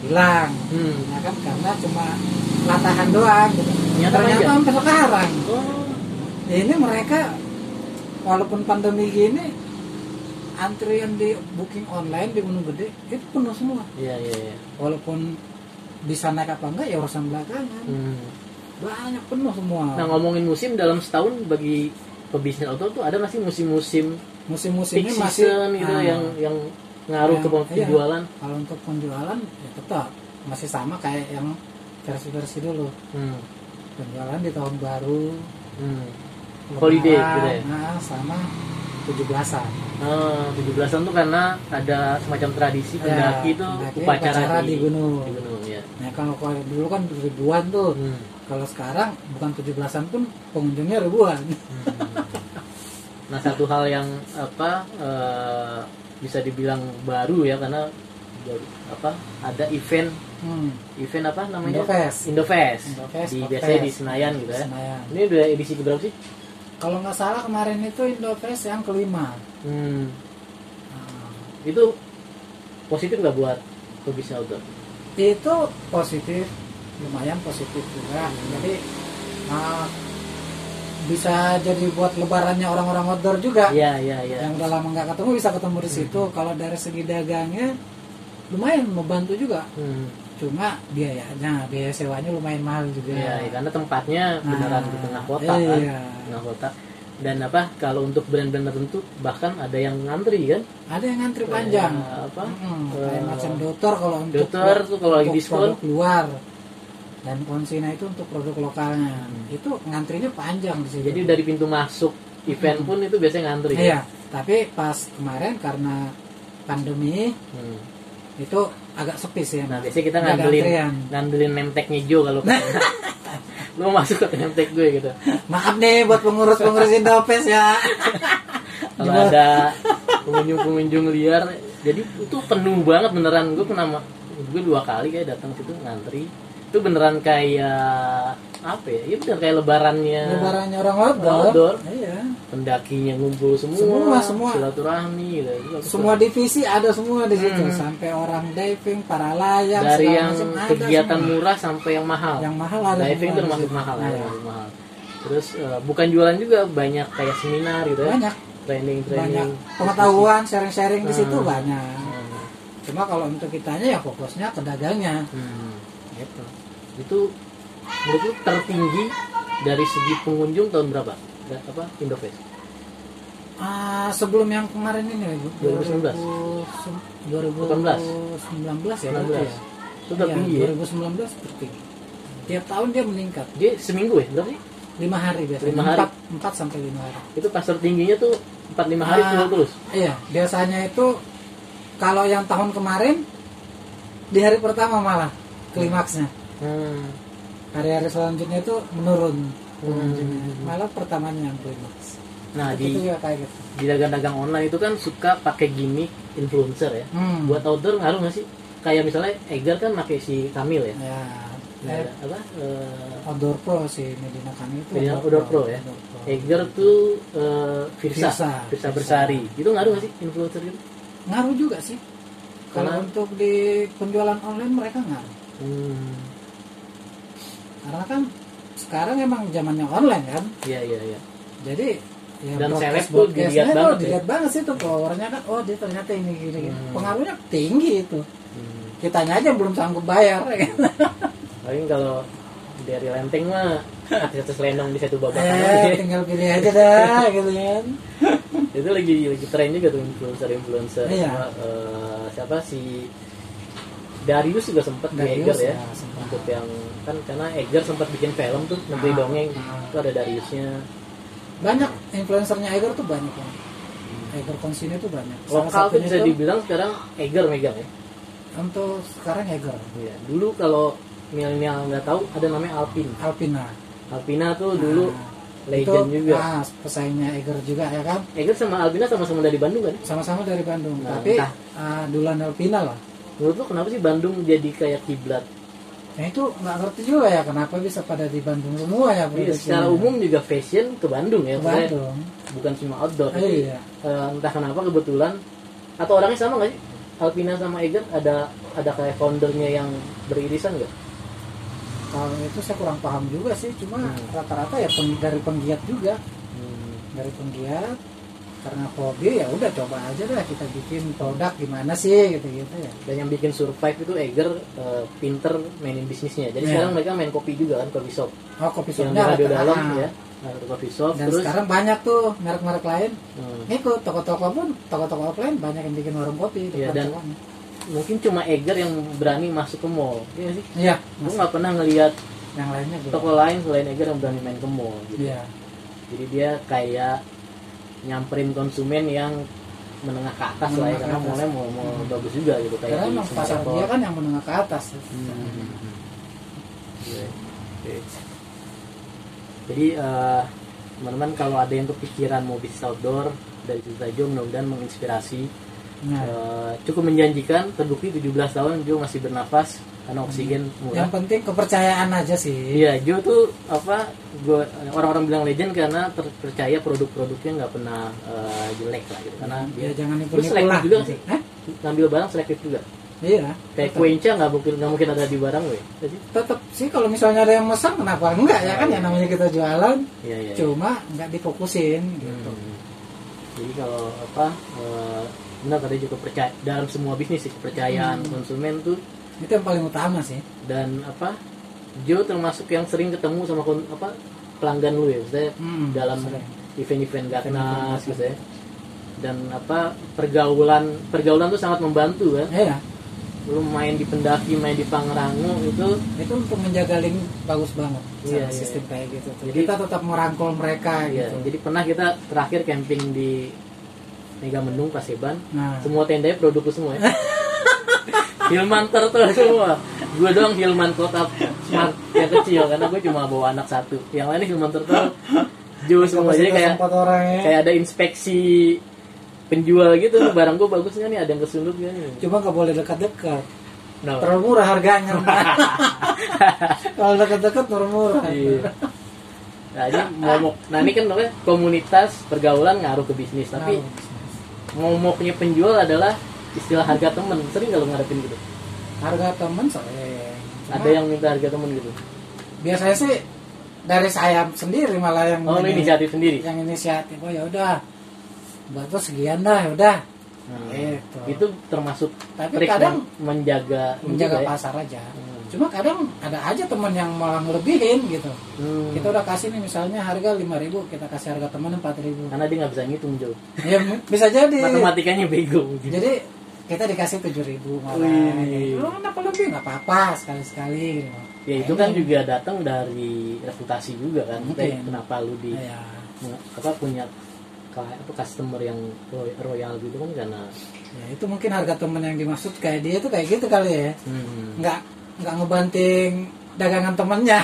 [SPEAKER 2] hilang
[SPEAKER 1] Hmm.
[SPEAKER 2] Ya kan karena cuma latahan doang gitu.
[SPEAKER 1] Ternyata
[SPEAKER 2] ternyata
[SPEAKER 1] aja.
[SPEAKER 2] sampai sekarang
[SPEAKER 1] Oh.
[SPEAKER 2] ya ini mereka walaupun pandemi gini antrian di booking online di Gunung Gede itu penuh semua
[SPEAKER 1] Iya iya iya.
[SPEAKER 2] walaupun bisa naik apa enggak ya urusan belakangan
[SPEAKER 1] Hmm.
[SPEAKER 2] banyak penuh semua
[SPEAKER 1] Nah ngomongin musim dalam setahun bagi pebisnis outdoor tuh ada masih musim-musim peak
[SPEAKER 2] musim-musimnya masih
[SPEAKER 1] season gitu
[SPEAKER 2] Ah,
[SPEAKER 1] yang yang ngaruh
[SPEAKER 2] Yang-
[SPEAKER 1] ke
[SPEAKER 2] iya.
[SPEAKER 1] penjualan.
[SPEAKER 2] kalau untuk penjualan ya tetap masih sama kayak yang versi-versi dulu
[SPEAKER 1] Hmm.
[SPEAKER 2] penjualan di tahun baru
[SPEAKER 1] Hmm. Holiday
[SPEAKER 2] Lebaran,
[SPEAKER 1] gitu ya?
[SPEAKER 2] nah, sama 17-an
[SPEAKER 1] Ah, 17-an tuh karena ada semacam tradisi pendaki
[SPEAKER 2] Ya,
[SPEAKER 1] itu
[SPEAKER 2] pendaki,
[SPEAKER 1] upacara,
[SPEAKER 2] upacara di gunung.
[SPEAKER 1] Di gunung ya.
[SPEAKER 2] Nah kalau kalau dulu kan ribuan tuh,
[SPEAKER 1] Hmm.
[SPEAKER 2] kalau sekarang bukan 17-an pun pengunjungnya ribuan.
[SPEAKER 1] Hmm. Nah satu hal yang apa eh, bisa dibilang baru ya karena baru- apa ada event
[SPEAKER 2] Hmm.
[SPEAKER 1] event apa namanya
[SPEAKER 2] Indofest.
[SPEAKER 1] Indofest,
[SPEAKER 2] Indofest,
[SPEAKER 1] di
[SPEAKER 2] Popfest.
[SPEAKER 1] biasanya di Senayan gitu ya.
[SPEAKER 2] Senayan.
[SPEAKER 1] Ini udah edisi keberapa sih?
[SPEAKER 2] Kalau nggak salah kemarin itu Indofest yang kelima.
[SPEAKER 1] Hmm,
[SPEAKER 2] Nah,
[SPEAKER 1] itu positif nggak buat pebisnis outdoor?
[SPEAKER 2] itu positif, lumayan positif juga. Jadi nah, bisa jadi buat lebarannya orang-orang outdoor juga.
[SPEAKER 1] Iya iya iya. Hmm.
[SPEAKER 2] Yang udah lama nggak ketemu bisa ketemu di situ. Kalau dari segi dagangnya lumayan membantu juga.
[SPEAKER 1] Hmm,
[SPEAKER 2] Cuma biayanya, biaya sewanya lumayan mahal juga.
[SPEAKER 1] iya iya, karena tempatnya
[SPEAKER 2] Nah,
[SPEAKER 1] beneran di tengah kota
[SPEAKER 2] iya.
[SPEAKER 1] kan, tengah kota. Dan apa kalau untuk brand-brand tertentu bahkan ada yang ngantri kan?
[SPEAKER 2] Ada yang ngantri panjang.
[SPEAKER 1] Kayak apa?
[SPEAKER 2] Mm-mm,
[SPEAKER 1] Eh,
[SPEAKER 2] kayak macam dokter kalau untuk
[SPEAKER 1] Dokter tuh kalau lagi
[SPEAKER 2] untuk
[SPEAKER 1] diskon.
[SPEAKER 2] produk luar dan konsina itu untuk produk lokalnya. Itu ngantrinya panjang di
[SPEAKER 1] Hmm.
[SPEAKER 2] situ.
[SPEAKER 1] Jadi gitu ya? dari pintu masuk event pun itu biasanya ngantri.
[SPEAKER 2] Iya, tapi pas kemarin karena pandemi
[SPEAKER 1] Hmm.
[SPEAKER 2] itu agak sepi sih.
[SPEAKER 1] Nah biasanya kita
[SPEAKER 2] Nggak ada
[SPEAKER 1] ngandelin
[SPEAKER 2] antrian.
[SPEAKER 1] ngandelin nemteknya Jo kalau lu mau masuk ke nemtek gue gitu.
[SPEAKER 2] Maaf nih buat pengurus-pengurus Indopes ya.
[SPEAKER 1] Nah. kalau ada pengunjung-pengunjung liar jadi itu penuh banget beneran gue pernah ma- gue dua kali kayak datang situ ngantri itu beneran kayak apa ya? Iya bener kayak lebarannya
[SPEAKER 2] Lebarannya orang outdoor.
[SPEAKER 1] Outdoor.
[SPEAKER 2] Iya.
[SPEAKER 1] pendakinya ngumpul semua,
[SPEAKER 2] Semua, semua.
[SPEAKER 1] silaturahmi gitu.
[SPEAKER 2] semua divisi ada semua di situ
[SPEAKER 1] Hmm.
[SPEAKER 2] sampai orang diving para layang
[SPEAKER 1] dari
[SPEAKER 2] segala
[SPEAKER 1] yang
[SPEAKER 2] macam ada
[SPEAKER 1] kegiatan
[SPEAKER 2] semua.
[SPEAKER 1] murah sampai yang mahal.
[SPEAKER 2] yang mahal ada
[SPEAKER 1] Diving
[SPEAKER 2] semua
[SPEAKER 1] itu
[SPEAKER 2] di
[SPEAKER 1] termasuk
[SPEAKER 2] situ.
[SPEAKER 1] mahal,
[SPEAKER 2] Nah,
[SPEAKER 1] ya,
[SPEAKER 2] ya.
[SPEAKER 1] termasuk mahal. Terus eh, bukan jualan juga banyak kayak seminar gitu ya,
[SPEAKER 2] banyak
[SPEAKER 1] training
[SPEAKER 2] banyak
[SPEAKER 1] training.
[SPEAKER 2] pengetahuan sharing-sharing di situ
[SPEAKER 1] Hmm.
[SPEAKER 2] banyak cuma kalau untuk kitanya ya fokusnya ke dagangnya
[SPEAKER 1] Hmm.
[SPEAKER 2] gitu
[SPEAKER 1] Itu menurut lu tertinggi dari segi pengunjung tahun berapa? Da- apa Indofest?
[SPEAKER 2] Ah, sebelum yang kemarin ini Bu,
[SPEAKER 1] 2019.
[SPEAKER 2] 2019 ya berarti ya
[SPEAKER 1] 19. Itu tertinggi
[SPEAKER 2] Iya,
[SPEAKER 1] ya.
[SPEAKER 2] 2019 tertinggi tiap tahun dia meningkat
[SPEAKER 1] Dia seminggu ya, berapa sih?
[SPEAKER 2] lima hari biasanya
[SPEAKER 1] Lima hari.
[SPEAKER 2] Empat- empat sampai lima hari
[SPEAKER 1] Itu pas tertingginya tuh 4-5 hari
[SPEAKER 2] Ah.
[SPEAKER 1] full terus.
[SPEAKER 2] Iya, biasanya itu kalau yang tahun kemarin di hari pertama malah klimaksnya.
[SPEAKER 1] Hmm.
[SPEAKER 2] Hari-hari selanjutnya itu menurun.
[SPEAKER 1] Hmm.
[SPEAKER 2] Malah pertamanya yang klimaks.
[SPEAKER 1] Nah,
[SPEAKER 2] Itu
[SPEAKER 1] di
[SPEAKER 2] juga kayak gitu.
[SPEAKER 1] di dagang-dagang online itu kan suka pakai gimmick influencer ya.
[SPEAKER 2] Hmm.
[SPEAKER 1] Buat outdoor ngaruh nggak sih? Kayak misalnya Egar kan pakai si Kamil ya.
[SPEAKER 2] ya,
[SPEAKER 1] Nah,
[SPEAKER 2] eh,
[SPEAKER 1] apa? eh,
[SPEAKER 2] outdoor pro sih Medina kami itu.
[SPEAKER 1] Medina Outdoor Pro ya?
[SPEAKER 2] outdoor pro.
[SPEAKER 1] Eger tuh eh, Firsa,
[SPEAKER 2] Firsa.
[SPEAKER 1] Firsa Bersari. Itu ngaruh gak sih influencer gitu? itu?
[SPEAKER 2] Ngaruh juga sih. Kalau
[SPEAKER 1] Karena-
[SPEAKER 2] untuk di penjualan online mereka ngaruh.
[SPEAKER 1] Hmm,
[SPEAKER 2] Karena kan sekarang emang zamannya online kan.
[SPEAKER 1] iya iya iya.
[SPEAKER 2] jadi ya
[SPEAKER 1] Dan
[SPEAKER 2] broadcast-
[SPEAKER 1] seleb tuh
[SPEAKER 2] broadcastnya
[SPEAKER 1] dilihat
[SPEAKER 2] tuh
[SPEAKER 1] banget ya.
[SPEAKER 2] dilihat banget sih tuh powernya kan oh dia ternyata ini gini, gini.
[SPEAKER 1] Hmm.
[SPEAKER 2] pengaruhnya tinggi itu
[SPEAKER 1] Hmm.
[SPEAKER 2] kitanya aja belum sanggup bayar ya kan?
[SPEAKER 1] Paling kalau dari Lenteng mah artis selendong di satu
[SPEAKER 2] eh
[SPEAKER 1] babakan.
[SPEAKER 2] tinggal pilih aja dah gitu kan
[SPEAKER 1] itu lagi lagi tren juga tuh influencer-influencer.
[SPEAKER 2] Iya.
[SPEAKER 1] Sama, eh, siapa si Darius juga sempat di
[SPEAKER 2] Darius,
[SPEAKER 1] Eger ya.
[SPEAKER 2] ya, sempat.
[SPEAKER 1] Untuk yang kan karena Eger sempat bikin film tuh negeri
[SPEAKER 2] Ah,
[SPEAKER 1] dongeng.
[SPEAKER 2] ah.
[SPEAKER 1] Itu ada Dariusnya.
[SPEAKER 2] banyak influencernya Eger tuh banyak kan Eger konsumen tuh banyak Salah
[SPEAKER 1] Lokal tuh
[SPEAKER 2] satunya
[SPEAKER 1] bisa
[SPEAKER 2] tuh
[SPEAKER 1] dibilang sekarang Eger megang ya.
[SPEAKER 2] untuk sekarang Eger
[SPEAKER 1] Iya, dulu kalau milenial nggak tahu ada namanya Alpin.
[SPEAKER 2] Alpina
[SPEAKER 1] Alpina tuh dulu
[SPEAKER 2] Nah,
[SPEAKER 1] legend juga.
[SPEAKER 2] itu, ah, pesaingnya Eger juga ya kan
[SPEAKER 1] Eger sama Alpina sama-sama dari Bandung kan?
[SPEAKER 2] sama-sama dari Bandung
[SPEAKER 1] Nah,
[SPEAKER 2] tapi
[SPEAKER 1] entah.
[SPEAKER 2] ah, duluan Alpina lah
[SPEAKER 1] Menurut lu kenapa sih Bandung jadi kayak kiblat?
[SPEAKER 2] Nah itu nggak ngerti juga ya kenapa bisa pada di Bandung semua
[SPEAKER 1] Iya,
[SPEAKER 2] ya produksinya.
[SPEAKER 1] secara umum juga fashion ke Bandung ya,
[SPEAKER 2] Ke
[SPEAKER 1] maksudnya
[SPEAKER 2] Bandung.
[SPEAKER 1] bukan cuma outdoor.
[SPEAKER 2] Eh, iya.
[SPEAKER 1] Eh, entah kenapa kebetulan atau orangnya sama nggak sih? Alpina sama Eger ada ada kayak foundernya yang beririsan nggak?
[SPEAKER 2] Kalau itu saya kurang paham juga sih, cuma
[SPEAKER 1] Hmm.
[SPEAKER 2] rata-rata ya peng- dari penggiat juga, dari penggiat karena hobi ya udah coba aja dah kita bikin produk gimana sih gitu-gitu ya.
[SPEAKER 1] Dan yang bikin survive itu Eger eh, pinter mainin bisnisnya. Jadi
[SPEAKER 2] Iya.
[SPEAKER 1] sekarang mereka main kopi juga kan kopi shop.
[SPEAKER 2] Oh kopi
[SPEAKER 1] yang
[SPEAKER 2] shopnya
[SPEAKER 1] radio
[SPEAKER 2] rata-
[SPEAKER 1] dalam
[SPEAKER 2] ah.
[SPEAKER 1] ya nah, itu coffee shop
[SPEAKER 2] Dan
[SPEAKER 1] terus
[SPEAKER 2] sekarang banyak tuh merek-merek lain.
[SPEAKER 1] hmm,
[SPEAKER 2] Ikut toko-toko pun toko-toko offline banyak yang bikin warung kopi.
[SPEAKER 1] Iya,
[SPEAKER 2] depan
[SPEAKER 1] dan-
[SPEAKER 2] jalan.
[SPEAKER 1] mungkin cuma Eger yang berani masuk ke mall iya sih
[SPEAKER 2] Iya,
[SPEAKER 1] gue
[SPEAKER 2] Mas.
[SPEAKER 1] nggak pernah ngelihat
[SPEAKER 2] yang lainnya belum.
[SPEAKER 1] toko lain selain Eger yang berani main ke mall gitu.
[SPEAKER 2] Iya.
[SPEAKER 1] jadi dia kayak nyamperin konsumen yang menengah ke atas lah ya
[SPEAKER 2] Menengah ke
[SPEAKER 1] karena
[SPEAKER 2] atas.
[SPEAKER 1] mulai mau mau bagus juga gitu kayak
[SPEAKER 2] Karena emang pasar
[SPEAKER 1] Singapura.
[SPEAKER 2] dia kan yang menengah ke atas.
[SPEAKER 1] Hmm. Iya. Oke. Jadi eh, teman-teman kalau ada yang kepikiran mau bisnis outdoor dari cerita Jo mudah-mudahan menginspirasi
[SPEAKER 2] Nah,
[SPEAKER 1] Eh, cukup menjanjikan terbukti 17 tahun Jo masih bernafas karena oksigen murah
[SPEAKER 2] Yang penting kepercayaan aja sih.
[SPEAKER 1] iya Jo tuh apa gua- orang-orang bilang legend karena terpercaya produk-produknya nggak pernah eh, jelek lah gitu karena dia
[SPEAKER 2] Ya jangan
[SPEAKER 1] Lu
[SPEAKER 2] nipu-nipu
[SPEAKER 1] selektif
[SPEAKER 2] lah.
[SPEAKER 1] juga sih?
[SPEAKER 2] Hah?
[SPEAKER 1] ngambil barang selektif juga
[SPEAKER 2] Iya.
[SPEAKER 1] kayak kuenca nggak mungkin nggak mungkin ada di barang gue Jadi,
[SPEAKER 2] Tetap Iya, sih kalau misalnya ada yang pesan kenapa enggak ya kan ya namanya kita jualan
[SPEAKER 1] iya iya iya.
[SPEAKER 2] cuma enggak difokusin gitu.
[SPEAKER 1] Hmm. jadi kalau apa eh, benar tadi juga percaya dalam semua bisnis sih kepercayaan
[SPEAKER 2] Hmm.
[SPEAKER 1] konsumen tuh
[SPEAKER 2] Itu yang paling utama sih.
[SPEAKER 1] dan apa Joe termasuk yang sering ketemu sama kon- apa pelanggan lu ya maksudnya
[SPEAKER 2] Hmm,
[SPEAKER 1] dalam
[SPEAKER 2] sering.
[SPEAKER 1] event-event
[SPEAKER 2] Event-event
[SPEAKER 1] gaknas gitu ya dan apa pergaulan pergaulan tuh sangat membantu kan
[SPEAKER 2] Iya.
[SPEAKER 1] lu main di pendaki main di Pangrango itu
[SPEAKER 2] Itu untuk menjaga link bagus banget. sama
[SPEAKER 1] Iya, iya.
[SPEAKER 2] sistem kayak gitu. tuh.
[SPEAKER 1] Jadi-
[SPEAKER 2] kita tetap merangkul mereka
[SPEAKER 1] ya,
[SPEAKER 2] gitu.
[SPEAKER 1] jadi pernah kita terakhir camping di Megamendung Paseban
[SPEAKER 2] Nah,
[SPEAKER 1] semua tendanya produk lu semua ya Hilman tertua semua Gue doang Hilman kota smart yang kecil Karena gue cuma bawa anak satu Yang lainnya Hilman tertua Jauh semua Jadi kayak
[SPEAKER 2] empat orang ya.
[SPEAKER 1] kayak ada inspeksi penjual gitu Barang gue bagus nggak nih ada yang kesundut nggak nih
[SPEAKER 2] Cuma nggak boleh dekat-dekat.
[SPEAKER 1] no.
[SPEAKER 2] Terlalu murah harganya. kalau dekat-dekat terlalu murah.
[SPEAKER 1] Iya. Nah, ini momok. Nah, ini kan namanya komunitas pergaulan ngaruh ke bisnis. Tapi
[SPEAKER 2] Nah,
[SPEAKER 1] momoknya penjual adalah istilah harga temen. Sering nggak lo ngadepin gitu?
[SPEAKER 2] harga temen sering. Cuma
[SPEAKER 1] Ada yang minta harga temen gitu?
[SPEAKER 2] biasanya sih dari saya sendiri malah yang
[SPEAKER 1] Oh, lo
[SPEAKER 2] ini-
[SPEAKER 1] inisiatif sendiri?
[SPEAKER 2] yang inisiatif. Oh ya udah, batu sekian dah, ya udah.
[SPEAKER 1] Nah,
[SPEAKER 2] Gitu.
[SPEAKER 1] Itu termasuk
[SPEAKER 2] Tapi
[SPEAKER 1] trik
[SPEAKER 2] kadang-
[SPEAKER 1] men- menjaga ini
[SPEAKER 2] menjaga
[SPEAKER 1] juga ya?
[SPEAKER 2] pasar aja.
[SPEAKER 1] Hmm.
[SPEAKER 2] Cuma kadang ada aja teman yang malah ngelebihin gitu.
[SPEAKER 1] Hmm.
[SPEAKER 2] Kita udah kasih nih misalnya harga 5.000, kita kasih harga teman 4.000.
[SPEAKER 1] Karena dia nggak bisa ngitung jauh.
[SPEAKER 2] ya bisa jadi.
[SPEAKER 1] Matematikanya bego. gitu. mungkin.
[SPEAKER 2] Jadi kita dikasih 7.000 malah.
[SPEAKER 1] Wih.
[SPEAKER 2] Lu Ya, kenapa lebih? Nggak apa-apa sekali-sekali. gitu.
[SPEAKER 1] Ya itu kan juga datang dari reputasi juga kan. Maksudnya
[SPEAKER 2] Mungkin.
[SPEAKER 1] Kenapa lu di Iya.
[SPEAKER 2] Ya,
[SPEAKER 1] apa punya kli- apa customer yang roy- royal gitu kan karena
[SPEAKER 2] ya, itu mungkin harga teman yang dimaksud kayak dia itu kayak gitu kali ya.
[SPEAKER 1] Hmm.
[SPEAKER 2] Nggak nggak ngebanting dagangan temennya.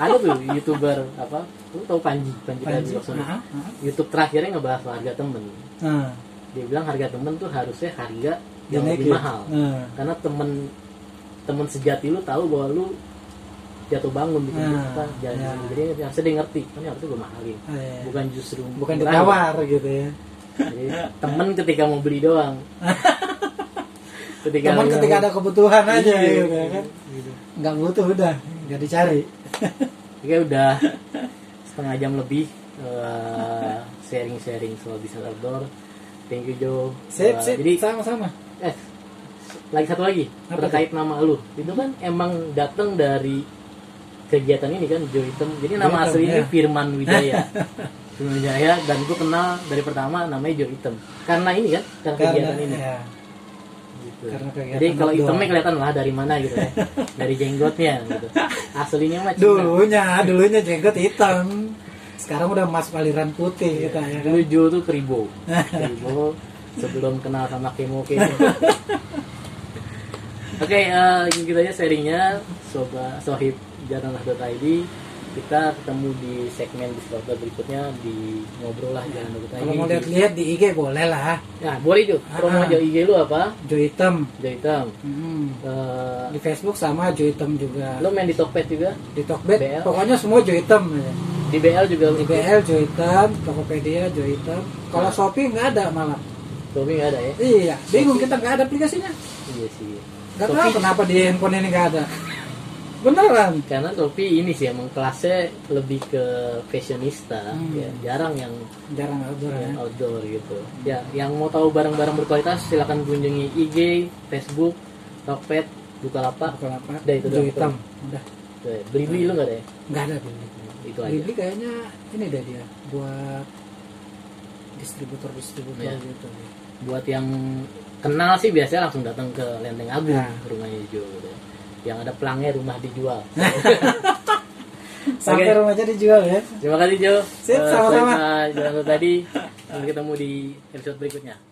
[SPEAKER 1] ada tuh youtuber apa lu tau Panji Panji, Panji.
[SPEAKER 2] Nah, nah.
[SPEAKER 1] YouTube terakhirnya ngebahas harga temen
[SPEAKER 2] Nah,
[SPEAKER 1] dia bilang harga temen tuh harusnya harga yang
[SPEAKER 2] dinaikin.
[SPEAKER 1] lebih mahal
[SPEAKER 2] Nah.
[SPEAKER 1] karena temen temen sejati lu tahu bahwa lu jatuh bangun gitu
[SPEAKER 2] Nah,
[SPEAKER 1] apa jadi
[SPEAKER 2] ya.
[SPEAKER 1] jadi harusnya dia ngerti kan harusnya gue mahalin
[SPEAKER 2] Eh,
[SPEAKER 1] bukan justru
[SPEAKER 2] bukan
[SPEAKER 1] murah.
[SPEAKER 2] ditawar gitu ya.
[SPEAKER 1] Jadi, temen ketika mau beli doang ketika
[SPEAKER 2] Cuman
[SPEAKER 1] lu-
[SPEAKER 2] ketika ada kebutuhan aja
[SPEAKER 1] Iya,
[SPEAKER 2] gitu ya kan.
[SPEAKER 1] gitu.
[SPEAKER 2] Nggak butuh udah, nggak dicari.
[SPEAKER 1] Oke udah setengah jam lebih eh, sharing-sharing soal bisnis outdoor. Thank you Jo.
[SPEAKER 2] Sip,
[SPEAKER 1] Eh,
[SPEAKER 2] sip.
[SPEAKER 1] Jadi
[SPEAKER 2] Sama-sama.
[SPEAKER 1] eh lagi satu lagi
[SPEAKER 2] Apa
[SPEAKER 1] terkait nama lu. Itu kan emang datang dari kegiatan ini kan Jo Item. Jadi nama
[SPEAKER 2] Item,
[SPEAKER 1] aslinya
[SPEAKER 2] ya.
[SPEAKER 1] Firman Wijaya. Firman Wijaya dan gue kenal dari pertama namanya Jo Item. Karena ini kan karena,
[SPEAKER 2] Karena,
[SPEAKER 1] kegiatan ini.
[SPEAKER 2] ya,
[SPEAKER 1] Gitu.
[SPEAKER 2] karena kegiatan
[SPEAKER 1] Jadi kalau
[SPEAKER 2] outdoor.
[SPEAKER 1] itemnya kelihatan lah dari mana gitu ya. dari jenggotnya gitu. Aslinya mah Cina.
[SPEAKER 2] dulunya, dulunya jenggot hitam. Sekarang udah masuk aliran
[SPEAKER 1] Iya.
[SPEAKER 2] putih kita ya kan.
[SPEAKER 1] Dulu Jo tuh Kribo. Kribo sebelum kenal sama Kemo Kemo. Oke, eh, gitu aja sharingnya Soba Sohib Jaranlah.id kita ketemu di segmen Discord berikutnya di ngobrol lah jangan lupa
[SPEAKER 2] Kalau mau lihat-lihat di IG boleh lah.
[SPEAKER 1] Nah, boleh Jo. Promo
[SPEAKER 2] Ah.
[SPEAKER 1] Jo IG lu apa?
[SPEAKER 2] Jo hitam.
[SPEAKER 1] Jo Hitam.
[SPEAKER 2] Hmm.
[SPEAKER 1] Eh,
[SPEAKER 2] Di Facebook sama Jo hitam juga.
[SPEAKER 1] lu main di Tokped juga?
[SPEAKER 2] Di Tokbed,
[SPEAKER 1] BL.
[SPEAKER 2] pokoknya semua Jo hitam. Ya.
[SPEAKER 1] Di BL juga lu
[SPEAKER 2] Di
[SPEAKER 1] ikut?
[SPEAKER 2] BL Jo hitam, Tokopedia Jo hitam. Kalau
[SPEAKER 1] Nah.
[SPEAKER 2] Shopee nggak ada malah.
[SPEAKER 1] Shopee nggak ada ya?
[SPEAKER 2] Iya, bingung kita nggak ada aplikasinya.
[SPEAKER 1] Iya sih.
[SPEAKER 2] Gak tahu kenapa di handphone ini nggak ada. Beneran.
[SPEAKER 1] karena Shopee ini sih emang kelasnya lebih ke fashionista
[SPEAKER 2] Hmm.
[SPEAKER 1] ya jarang yang,
[SPEAKER 2] Jarang outdoor ya.
[SPEAKER 1] yang outdoor gitu ya yang mau tahu barang-barang berkualitas silakan kunjungi IG Facebook Tokped Bukalapak
[SPEAKER 2] Pukul apa?
[SPEAKER 1] Udah, itu
[SPEAKER 2] Jo
[SPEAKER 1] doang.
[SPEAKER 2] hitam. Udah.
[SPEAKER 1] Tuh ya, beli beli lu nggak ada ya
[SPEAKER 2] Nggak ada beli.
[SPEAKER 1] itu aja
[SPEAKER 2] Beli kayaknya ini deh dia buat distributor-distributor
[SPEAKER 1] Iya.
[SPEAKER 2] gitu.
[SPEAKER 1] buat yang kenal sih biasanya langsung datang ke Lenteng Agung
[SPEAKER 2] Nah.
[SPEAKER 1] rumahnya Jo gitu ya. yang ada pelangnya rumah dijual
[SPEAKER 2] Sampai
[SPEAKER 1] Oke.
[SPEAKER 2] rumah aja dijual ya.
[SPEAKER 1] terima kasih Jo
[SPEAKER 2] Sip,
[SPEAKER 1] Eh,
[SPEAKER 2] sama-sama.
[SPEAKER 1] selamat jalan lu tadi sampai ketemu di episode berikutnya